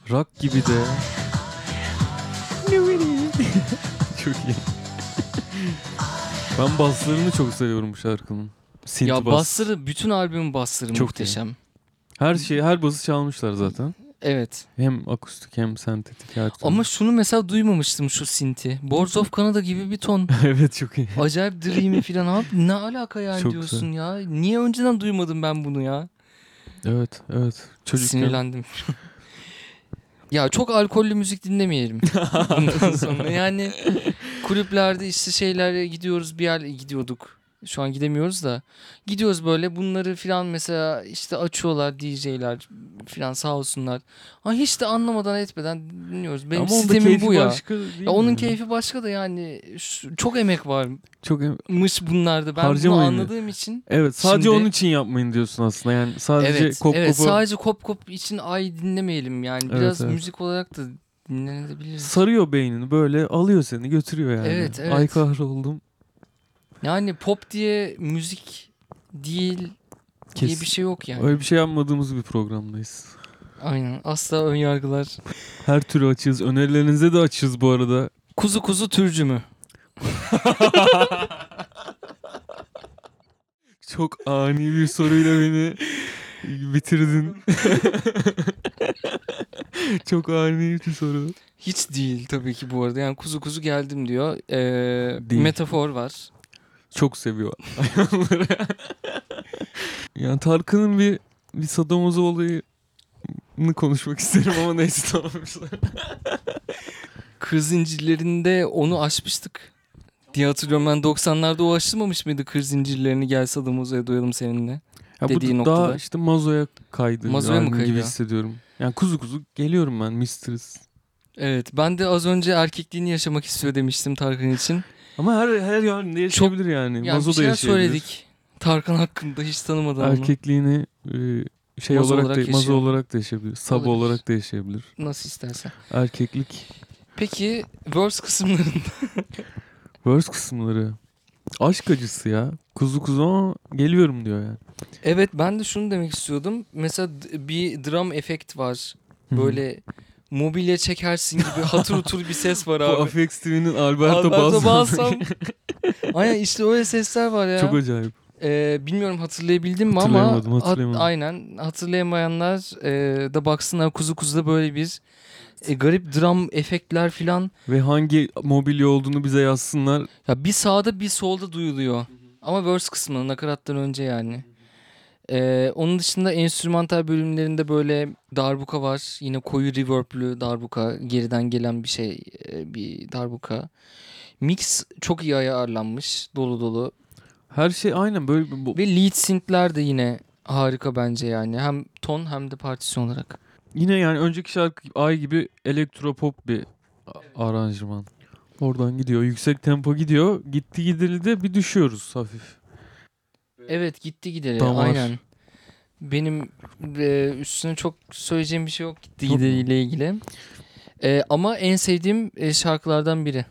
Rock gibi [laughs] de. çok iyi. ben baslarını çok seviyorum bu şarkının. Synth ya bas. bassları bütün albümün bassları Çok muhteşem. Her şeyi, her bası çalmışlar zaten. Evet. Hem akustik hem sentetik her [laughs] türlü. Ama şunu mesela duymamıştım şu sinti. Boards of Canada gibi [laughs] bir ton. evet çok iyi. Acayip dreamy falan abi ne alaka yani Çok diyorsun ya. Niye önceden duymadım ben bunu ya? Evet, evet. Çocukken Sinirlendim. ya çok alkollü [laughs] müzik dinlemeyelim. Bundan sonra yani kulüplerde işte şeylere gidiyoruz bir yerle gidiyorduk. Şu an gidemiyoruz da. Gidiyoruz böyle bunları filan mesela işte açıyorlar DJ'ler filan sağ olsunlar. Ha hiç de anlamadan etmeden dinliyoruz. Benim Ama onda sistemim keyfi bu ya. başka değil Ya onun mi? keyfi başka da yani şu- çok emek varmış çok em- bunlarda. Ben Harcamayın. bunu anladığım için. Evet sadece Şimdi- onun için yapmayın diyorsun aslında. Yani sadece Evet, kop evet kopa sadece kop kop için ay dinlemeyelim yani. Evet, Biraz evet. müzik olarak da dinlenebiliriz. sarıyor beynini böyle alıyor seni götürüyor yani. Evet, evet. Ay kahroldum. Yani pop diye müzik değil diye Kesin. bir şey yok yani. Öyle bir şey yapmadığımız bir programdayız. Aynen. Asla ön yargılar. Her türlü açığız. Önerilerinize de açığız bu arada. Kuzu kuzu türcü mü? Çok ani bir soruyla beni bitirdin. [laughs] Çok ani bir soru. Hiç değil tabii ki bu arada. Yani kuzu kuzu geldim diyor. Ee, Değil. metafor var. Çok seviyor [laughs] hayvanları. yani Tarkan'ın bir bir sadomozo olayını konuşmak isterim ama neyse tamam. Kır zincirlerinde onu aşmıştık. Diye hatırlıyorum ben 90'larda o aşılmamış mıydı kır zincirlerini gel Sadamoza'ya doyalım seninle. Ya bu Dediği daha noktada. işte mazoya kaydı. Mazoya mı albüm kaydı? Gibi hissediyorum. Yani kuzu kuzu geliyorum ben mistress. Evet ben de az önce erkekliğini yaşamak istiyor demiştim Tarkan için. Ama her her yerinde yaşayabilir yani. Yani Mazo E, bir da şeyler yaşayabilir. söyledik Tarkan hakkında hiç tanımadan onu. Erkekliğini e, şey Mazo olarak, olarak da, mazo yaşıyor. olarak da yaşayabilir. Sabo Olabilir. olarak da yaşayabilir. Nasıl istersen. Erkeklik. Peki [laughs] verse kısımlarında Verse kısımları. Aşk acısı ya. Kuzu kuzu ama geliyorum diyor yani. evet ben de şunu demek istiyordum. Mesela d- bir drum efekt var. Hı hı. Böyle mobilya çekersin gibi hatır hutur bir ses [laughs] var Bu abi. Afex TV'nin Alberto, Alberto Balsam. [laughs] Balsam. Aynen işte öyle sesler var ya. Çok acayip. Ee, bilmiyorum hatırlayabildim mi ama Hatırlayamadım, hat- hatırlayamadım. aynen hatırlayamayanlar e, da baksınlar kuzu kuzuda böyle bir e, garip drum efektler filan. Ve hangi mobilya olduğunu bize yazsınlar. Ya bir sağda bir solda duyuluyor. Ama verse kısmında nakarattan önce yani. Ee, onun dışında enstrümantal bölümlerinde böyle darbuka var. Yine koyu reverb'lü darbuka. Geriden gelen bir şey. e, bir darbuka. Mix çok iyi ayarlanmış. Dolu dolu. Her şey aynen böyle bu- bu. Ve lead synth'ler de yine harika bence yani. Hem ton hem de partisyon olarak. Yine yani önceki şarkı ay gibi elektropop bir a- aranjman. Oradan gidiyor. Yüksek tempo gidiyor. Gitti gidildi de bir düşüyoruz hafif. Evet gitti gideli. Damar. Aynen. Benim e, üstüne çok söyleyeceğim bir şey yok gitti Yok mu? gideriyle ilgili. E, ama en sevdiğim e, şarkılardan biri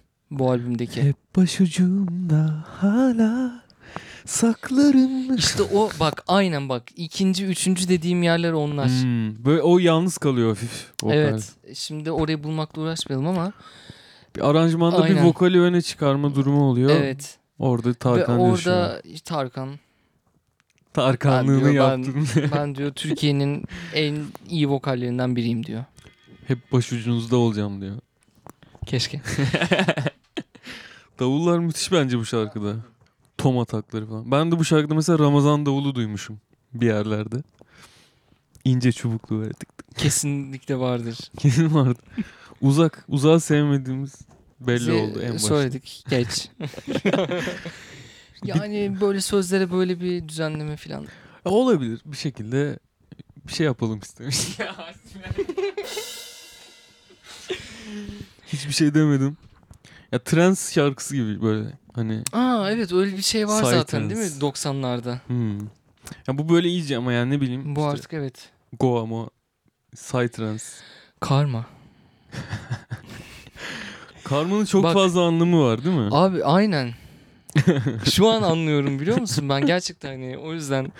[laughs] bu albümdeki. Hep başucumda hala saklarım. İşte o bak aynen bak ikinci üçüncü dediğim yerler onlar. Hmm, böyle o yalnız kalıyor hafif. Vokal. evet. Şimdi orayı bulmakla uğraşmayalım ama Bir aranjmanda Aynen. bir vokali öne çıkarma durumu oluyor. evet. Orada Tarkan Ve coşuyor. orada işte Tarkan Tarkanlığını Ben diyor, ben- yaptın. ben diyor Türkiye'nin en iyi vokallerinden biriyim diyor. [laughs] Hep başucunuzda olacağım diyor. Keşke. Davullar müthiş bence bu şarkıda. Tom atakları falan. Ben de bu şarkıda mesela Ramazan davulu duymuşum bir yerlerde. İnce çubuklu böyle tık [laughs] Kesinlikle vardır. kesin vardı. Uzak, uzağı sevmediğimiz belli Bizi oldu en başta. Söyledik geç. [laughs] yani böyle sözlere böyle bir düzenleme falan. E, Olabilir bir şekilde bir şey yapalım istemiş. Hiçbir şey demedim. Ya trans şarkısı gibi böyle hani. Aa evet öyle bir şey var Side zaten değil mi trends. 90'larda. hmm. Ya bu böyle iyice ama yani ne Bu bileyim. işte artık evet. Go ama Psytrance. Karma. Karmanın çok Bak- fazla anlamı var değil mi? [laughs] Abi aynen. Şu an anlıyorum biliyor musun? Ben gerçekten hani o yüzden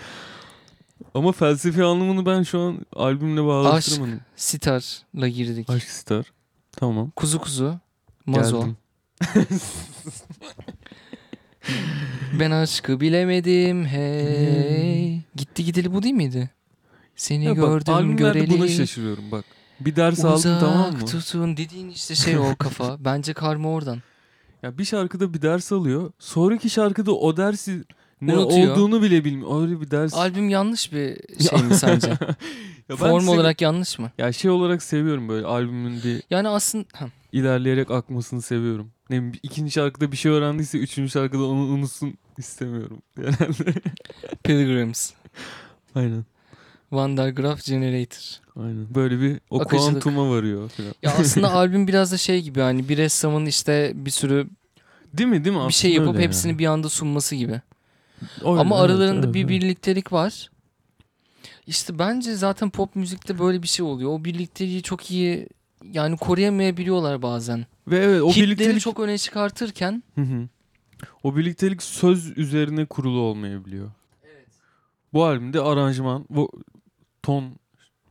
Ama felsefi anlamını ben şu an albümle bağlaştıramadım. sitarla girdik. Aşk Star. Tamam. Kuzu kuzu. Mazo. Geldim. Ben aşkı bilemedim hey. Gitti gideli bu değil miydi? Seni Hmm. Ya bak, gördüm albümlerde göreli. buna şaşırıyorum bak. Bir ders aldım Uzak tamam mı? tutun dediğin işte şey o [laughs] kafa. Bence karma oradan. Ya bir şarkıda bir ders alıyor. Sonraki şarkıda o dersi ne Unutuyor. olduğunu bile bilmiyor. Öyle bir ders. Albüm yanlış bir şey [laughs] mi sence? Ya ben Form sev- olarak yanlış mı? Ya şey olarak seviyorum böyle albümün bir Yani aslında Heh, ilerleyerek akmasını seviyorum. Ne bileyim, ikinci şarkıda bir şey öğrendiyse üçüncü şarkıda onu unutsun istemiyorum. [laughs] Genelde. Pilgrims, aynen. Van der Graaf Generator. Aynen. Böyle bir o Akıcılık. kuantuma varıyor falan. Ya [laughs] aslında albüm biraz da şey gibi hani bir ressamın işte bir sürü Değil mi? Değil mi? bir şey Aslında yapıp öyle hepsini yani. bir anda sunması gibi. Öyle, Ama evet, aralarında evet, bir evet. birliktelik var. İşte bence zaten pop müzikte böyle bir şey oluyor. O birlikteliği çok iyi yani koruyamayabiliyorlar bazen. Ve evet o O Hitleri birliktelik çok öne çıkartırken Hı hı. O birliktelik söz üzerine kurulu olmayabiliyor. Bu albümde aranjman, bu ton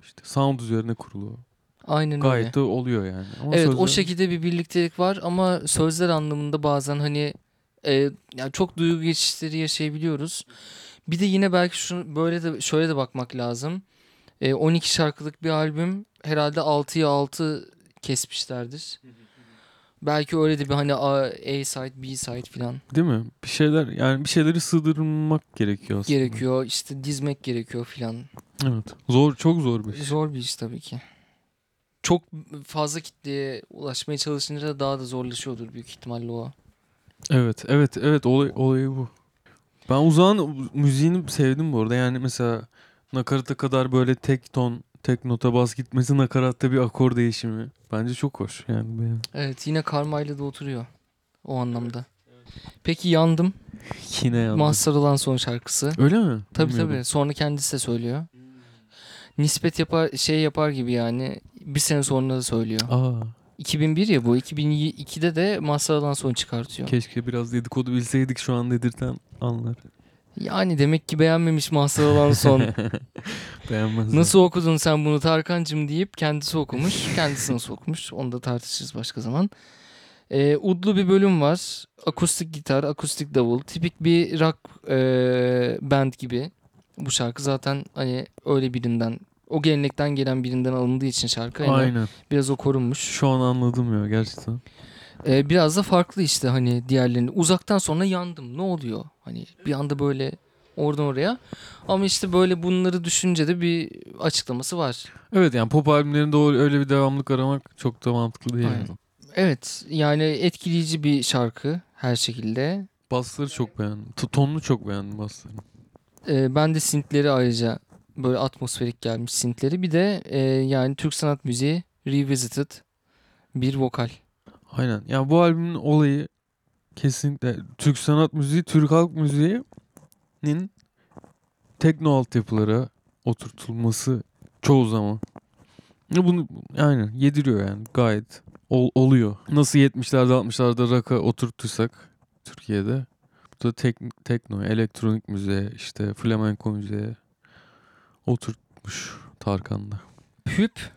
işte sound üzerine kurulu. aynen öyle. Gayet de oluyor yani. Ama Evet o sözler- şekilde bir birliktelik var ama sözler anlamında bazen hani e, yani çok duygu geçişleri yaşayabiliyoruz. Bir de yine belki şunu böyle de şöyle de bakmak lazım. E, 12 şarkılık bir albüm herhalde 6'ya 6 kesmişlerdir. Belki öyle de bir hani A, A side, B side falan değil mi? Bir şeyler yani bir şeyleri sığdırmak gerekiyor aslında. gerekiyor. İşte dizmek gerekiyor falan. Evet. Zor çok zor bir şey. Zor bir iş tabii ki. Çok fazla kitleye ulaşmaya çalışınca da daha da zorlaşıyordur büyük ihtimalle o. Evet, evet, evet olay olayı bu. Ben uzağın müziğini sevdim bu arada. Yani mesela nakarata kadar böyle tek ton, tek nota bas gitmesi, nakaratta bir akor değişimi. Bence çok hoş yani. benim. Evet yine karmayla da oturuyor o anlamda. Peki Yandım, Yine yandım. Mahsar olan son şarkısı. Öyle mi? Tabii Bilmiyordum. tabii sonra kendisi de söylüyor. Nispet yapar şey yapar gibi yani bir sene sonra da söylüyor. Aa, 2001 ya bu 2002'de de Mahsar olan son çıkartıyor. keşke biraz dedikodu bilseydik şu an dedirten anlar. Yani demek ki beğenmemiş Mahsar [laughs] olan son. Beğenmezler. Nasıl okudun sen bunu Tarkancım deyip kendisi okumuş. Kendisi nasıl okumuş onu da tartışırız başka zaman. Ee, udlu bir bölüm var. Akustik gitar, akustik davul. Tipik bir rock e, band gibi. Bu şarkı zaten hani öyle birinden, o gelenekten gelen birinden alındığı için şarkı. hani Aynen. Biraz o korunmuş. Şu an anladım ya gerçekten. Ee, biraz da farklı işte hani diğerlerini. Uzaktan sonra yandım. Ne oluyor? Hani bir anda böyle oradan oraya. Ama işte böyle bunları düşünce de bir açıklaması var. Evet yani pop albümlerinde o- öyle bir devamlık aramak çok da mantıklı değil. Aynen. yani. Evet yani etkileyici bir şarkı her şekilde. Basları çok beğendim. T- tonunu çok beğendim basları. Ee, ben de synthleri ayrıca böyle atmosferik gelmiş synthleri. Bir de e, yani Türk sanat müziği revisited bir vokal. Aynen. Yani bu albümün olayı kesinlikle Türk sanat müziği, Türk halk müziğinin tekno altyapılara oturtulması çoğu zaman. Ya Bunu aynen yediriyor yani gayet Ol- oluyor. Nasıl 70'lerde 60'larda rock'a oturttuysak Türkiye'de bu da tek- tekno, elektronik müziğe, işte flamenko müziğe oturtmuş Tarkan'da. Hüp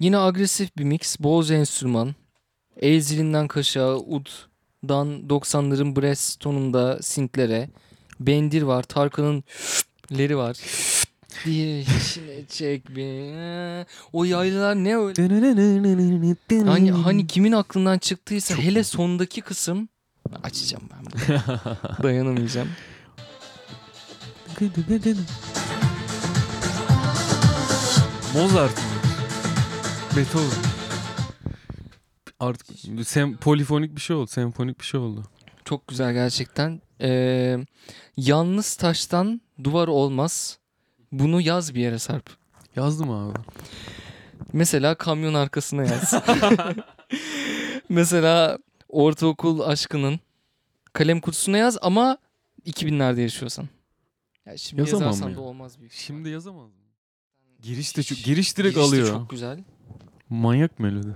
yine agresif bir mix. Bolca enstrüman. El zilinden kaşağı, ud, dan 90'ların brass tonunda sintlere. Bendir var. Tarkan'ın leri var. Diye içine çek beni. O yaylılar ne öyle? Hani, Hmm. hani kimin aklından çıktıysa hele sondaki kısım açacağım [laughs] ben bunu. Dayanamayacağım. Mozart mı? Beethoven. Artık sem polifonik bir şey oldu. Senfonik bir şey oldu. Çok güzel gerçekten. Ee, yalnız taştan duvar olmaz. Bunu yaz bir yere Sarp. Yazdım abi. Mesela kamyon arkasına [laughs] yaz. Mesela ortaokul aşkının kalem kutusuna yaz ama 2000'lerde yaşıyorsan. Ya şimdi Yazamam yazarsan ya. da olmaz büyük. ihtimal. Şimdi yazamaz mı? Giriş de çok, Hiç. giriş direkt Giriş de alıyor. Çok güzel. Manyak melodi.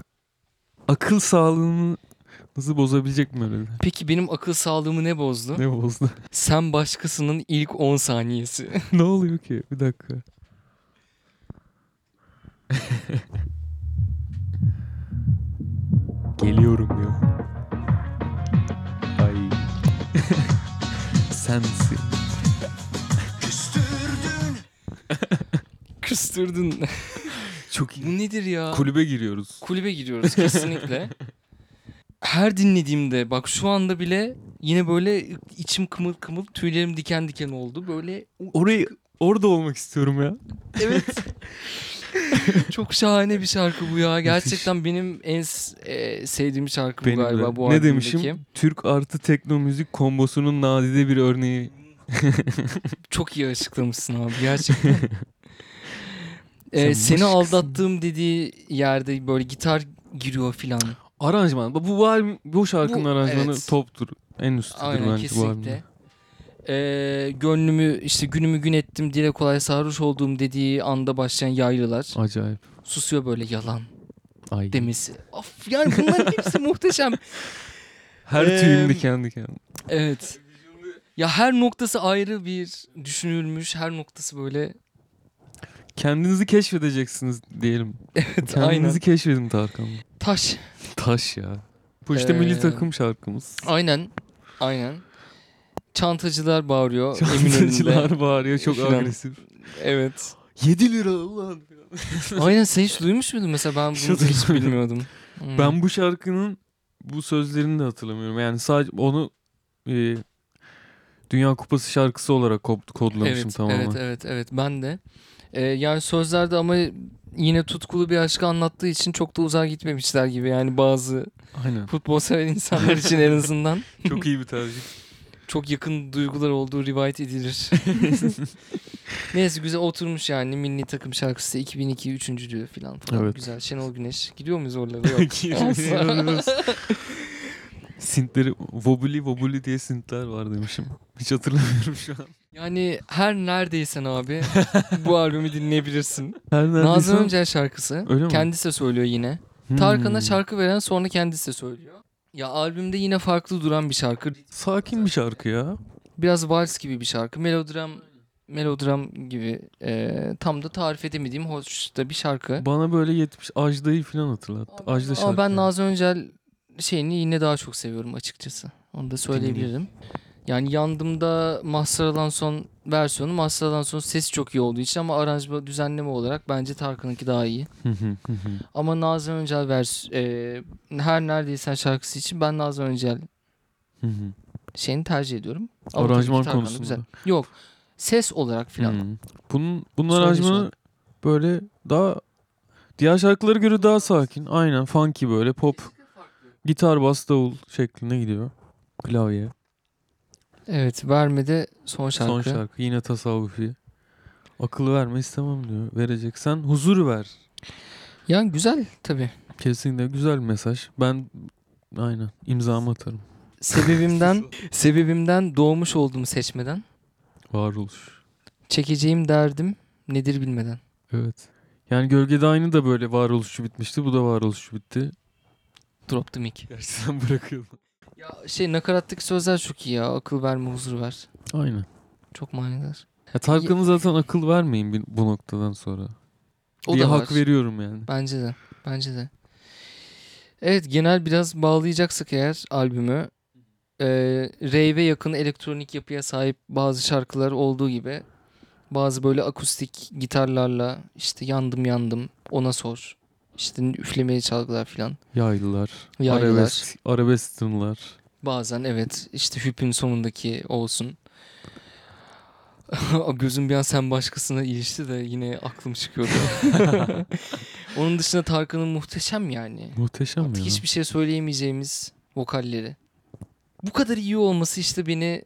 Akıl sağlığınızı bozabilecek melodi. Peki benim akıl sağlığımı ne bozdu? Ne bozdu? Sen başkasının ilk 10 saniyesi. [laughs] [laughs] ne oluyor ki? Bir dakika. Geliyorum diyor. [laughs] Ay. Sensin. Küstürdün. Çok Bu nedir ya? Kulübe giriyoruz. Kulübe giriyoruz kesinlikle. Her dinlediğimde bak şu anda bile yine böyle içim kımıl kımıl tüylerim diken diken oldu. Böyle Orayı orada olmak istiyorum ya. [laughs] evet. Çok şahane bir şarkı bu ya. Gerçekten benim en s- e, sevdiğim şarkı bu Benim galiba de. bu ne albümdeki. demişim? Türk artı tekno müzik kombosunun nadide bir örneği. Çok iyi açıklamışsın abi gerçekten. [laughs] Ee, Sen seni başkasın. aldattığım dediği yerde böyle gitar giriyor filan. Aranjman. Bu, bu, albüm, bu şarkının Bu- aranjmanı evet. toptur. En üstüdür Aynen bence bu albümde. kesinlikle. Ee, gönlümü işte günümü gün ettim dile kolay sarhoş olduğum dediği anda başlayan yaylılar. Acayip. Susuyor böyle yalan Ay. demesi. Of yani [laughs] bunların hepsi muhteşem. Her Eee, tüyüm diken diken. Evet. Ya her noktası ayrı bir düşünülmüş. Her noktası böyle. Kendinizi keşfedeceksiniz diyelim. Evet Kendinizi aynen. keşfedin Tarkan. Taş. Taş ya. Bu işte milli Eee, takım şarkımız. Aynen. Aynen. Çantacılar bağırıyor. Eminönü'nde. Çantacılar bağırıyor çok Filan. agresif. Evet. 7 lira Allah'ım. Aynen sen hiç duymuş muydun mesela ben Hiç bunu hiç hatırlamıyorum. [laughs] bilmiyordum. Hmm. Ben bu şarkının bu sözlerini de hatırlamıyorum. Yani sadece onu e, Dünya Kupası şarkısı olarak kod- kodlamışım evet, tamamen. Evet evet evet ben de. Ee, yani sözlerde ama yine tutkulu bir aşkı anlattığı için çok da uzağa gitmemişler gibi yani bazı [laughs] Aynen. futbol sever insanlar [laughs] için en azından Çok iyi bir [laughs] tercih. çok yakın duygular olduğu [laughs] rivayet edilir. Neyse güzel oturmuş yani milli takım şarkısı 2002 üçüncülüğü falan falan Evet. güzel Şenol Güneş gidiyor muyuz [laughs] oralara yok. İnanılmaz. Sintleri vobuli vobuli diye sintler var demişim. Hiç hatırlamıyorum şu an. Yani her [laughs] neredeysen abi bu albümü dinleyebilirsin. Her Nazım neredeyse- Öncel şarkısı. Öyle mi? Kendisi de söylüyor yine. Hmm. Tarkan'a şarkı veren sonra kendisi de söylüyor. Ya albümde yine farklı duran bir şarkı. Sakin bir şarkı ya. Biraz vals gibi bir şarkı. Melodram melodram gibi e, tam da tarif edemediğim hoş da bir şarkı. Bana böyle 70 Ajda'yı falan hatırlattı. Ajda şarkı. Ama ben Nazım Öncel şeyini yine daha çok seviyorum açıkçası. Onu da söyleyebilirim. Yani yandımda Mahsaralan son versiyonu. Mahsaralan son sesi çok iyi olduğu için ama aranjman düzenleme olarak bence Tarkan'ınki daha iyi. Hı hı hı hı. Ama Nazım Öncel vers e, her neredeyse şarkısı için ben Nazım Öncel Hı hı. şeyini tercih ediyorum. Ama tabii ki Aranjman Tarkan da konusunda. Hmm. güzel. Yok. Ses olarak filan. Hı. Bunun, bunun Söyleyişi aranjmanı olarak. böyle daha diğer şarkılara göre daha sakin. Aynen funky böyle pop. Gitar, bas, davul şeklinde gidiyor. Klavye. Evet. Vermedi son şarkı. Son şarkı yine tasavvufi. Akıl verme istemem diyor. Vereceksen huzur ver. Yani güzel tabii. Kesinlikle güzel bir mesaj. Ben aynen imzamı atarım. Sebebimden sebebimden doğmuş olduğumu seçmeden. Varoluş. Çekeceğim derdim nedir bilmeden. Evet. Yani gölgede aynı da böyle varoluşçu bitmişti. Bu da varoluşçu bitti. Drop the mic. Gerçekten [laughs] bırakıyorum. Ya şey nakarattaki sözler çok iyi ya. Akıl verme huzur ver. Aynen. Çok manidar. Ya Tarkan'a zaten akıl vermeyin bir- bu noktadan sonra. O diye da hak var. veriyorum yani. Bence de. Bence de. Evet genel biraz bağlayacaksak eğer albümü e, rave'e yakın elektronik yapıya sahip bazı şarkılar olduğu gibi bazı böyle akustik gitarlarla işte yandım yandım ona sor işte üflemeli çalgılar filan Yaylılar, Yaylılar. arabesk, arabestinler. bazen evet işte hüpün sonundaki olsun [laughs] gözüm bir an sen başkasına ilişti de yine aklım çıkıyordu onun dışında Tarkan'ın muhteşem yani Muhteşem Artık ya. hiçbir şey söyleyemeyeceğimiz vokalleri. Bu kadar iyi olması işte beni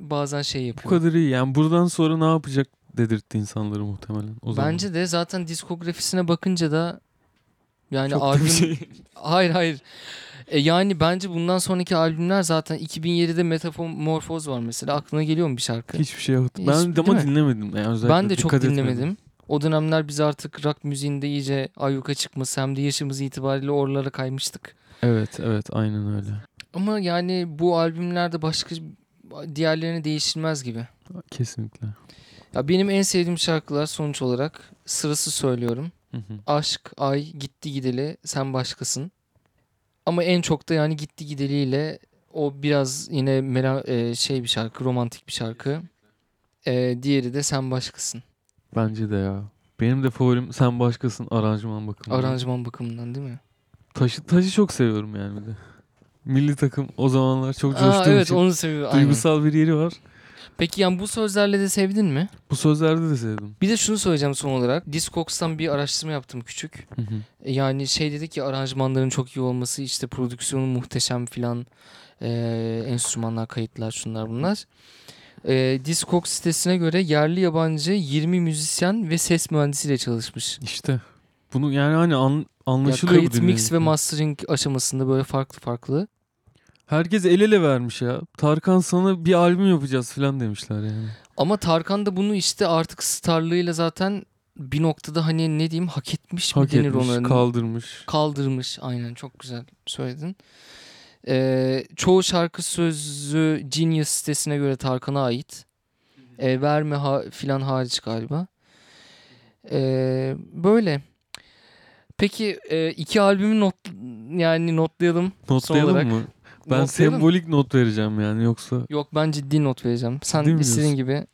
bazen şey Bu yapıyor. kadar iyi. Yani buradan sonra ne yapacak dedirtti insanları muhtemelen. O zaman. Bence de zaten diskografisine bakınca da yani Çok da bir albüm şey. [laughs] [laughs] hayır hayır. E yani bence bundan sonraki albümler zaten 2007'de Metamorfoz var mesela. Aklına geliyor mu bir şarkı? Hiçbir şey yok. Hiç- Ben de değil ama mi? dinlemedim. Yani özellikle ben de çok dikkat etmedim. dinlemedim. O dönemler biz artık rock müziğinde iyice ayyuka çıkması hem de yaşımız itibariyle oralara kaymıştık. Evet evet aynen öyle. Ama yani bu albümlerde başka diğerlerini değiştirmez gibi. Kesinlikle. Ya benim en sevdiğim şarkılar sonuç olarak sırası söylüyorum. Hı hı. Aşk, Ay, Gitti Gideli, Sen Başkasın. Ama en çok da yani Gitti Gideli'yle o biraz yine mela- e, şey bir şarkı, romantik bir şarkı. E, diğeri de Sen Başkasın. Bence de ya. Benim de favorim sen başkasın aranjman bakımından. Aranjman bakımından değil mi? Taşı, taşı çok seviyorum yani bir de. Milli takım o zamanlar çok coştuğum Aa, evet için onu seviyorum. aynen. duygusal bir yeri var. Peki yani bu sözlerle de sevdin mi? Bu sözlerde de sevdim. Bir de şunu söyleyeceğim son olarak. Discogs'tan bir araştırma yaptım küçük. Yani şey dedik ki aranjmanların çok iyi olması işte prodüksiyonun muhteşem filan eee, enstrümanlar kayıtlar şunlar bunlar. Eee Discogs sitesine göre yerli yabancı 20 müzisyen ve ses mühendisiyle çalışmış. işte bunu yani hani an, Ya anlaşılıyor bu kayıt, mix ve dinlenirken. mastering aşamasında böyle farklı farklı. Herkes el ele vermiş ya. Tarkan sana bir albüm yapacağız falan demişler yani. Ama Tarkan da bunu işte artık starlığıyla zaten bir noktada hani ne diyeyim hak etmiş mi Hak denir etmiş, ona? kaldırmış. Kaldırmış aynen çok güzel söyledin. Ee, çoğu şarkı sözü Genius sitesine göre Tarkan'a ait. Ee, verme ha- filan hariç galiba. Ee, böyle. Peki e, iki albümü not yani notlayalım. Notlayalım olarak- mı? Ben Notlayalım. sembolik not vereceğim yani yoksa. Yok ben ciddi not vereceğim. Sen Ciddi mi istediğin gibi.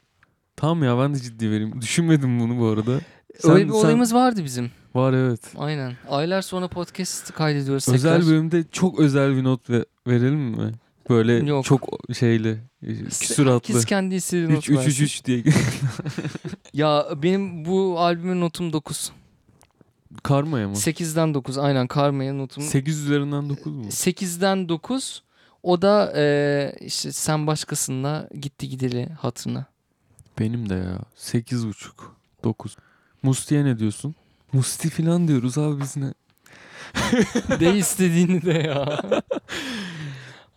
Tamam ya ben de ciddi vereyim. Düşünmedim bunu bu arada. Öyle bir olayımız vardı bizim. Var evet. Aynen. Aylar sonra podcast kaydediyoruz Özel tekrar. bölümde çok özel bir not ve- verelim mi? Böyle Yok. çok şeyli, e, süratli. Herkes kendi istediği 3 not 3 3 versin. 3 diye [laughs] Ya benim bu albümün notum 9. karmaya mı? 8'den 9 aynen Karma'ya notum. 8 üzerinden 9 mu? 8'den 9 o da e, işte sen başkasına gitti gideli hatırına. Benim de ya. 8,5 9. Musti'ye ne diyorsun? Musti falan diyoruz abi biz ne? [laughs] de istediğini de ya.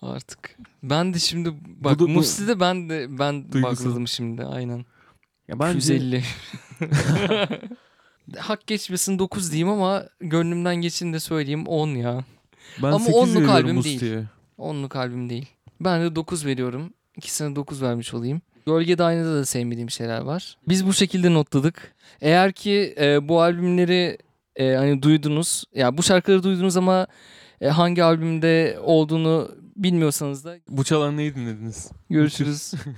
Artık. Ben de şimdi bak da- bu- Musti de ben de ben Duygusal. bakıldım şimdi aynen. Ya [laughs] 150. Hak geçmesin 9 diyeyim ama gönlümden geçin de söyleyeyim 10 ya. ben Ama 8 onluk veriyorum albüm değil. Musti'ye. 10'luk albüm değil. Ben de 9 veriyorum. İkisine 9 vermiş olayım. Gölgede aynada da sevmediğim şeyler var. Biz bu şekilde notladık. Eğer ki e, bu albümleri e, hani duydunuz. Ya bu şarkıları duydunuz ama e, hangi albümde olduğunu bilmiyorsanız da Bu çalan neyi dinlediniz? görüşürüz.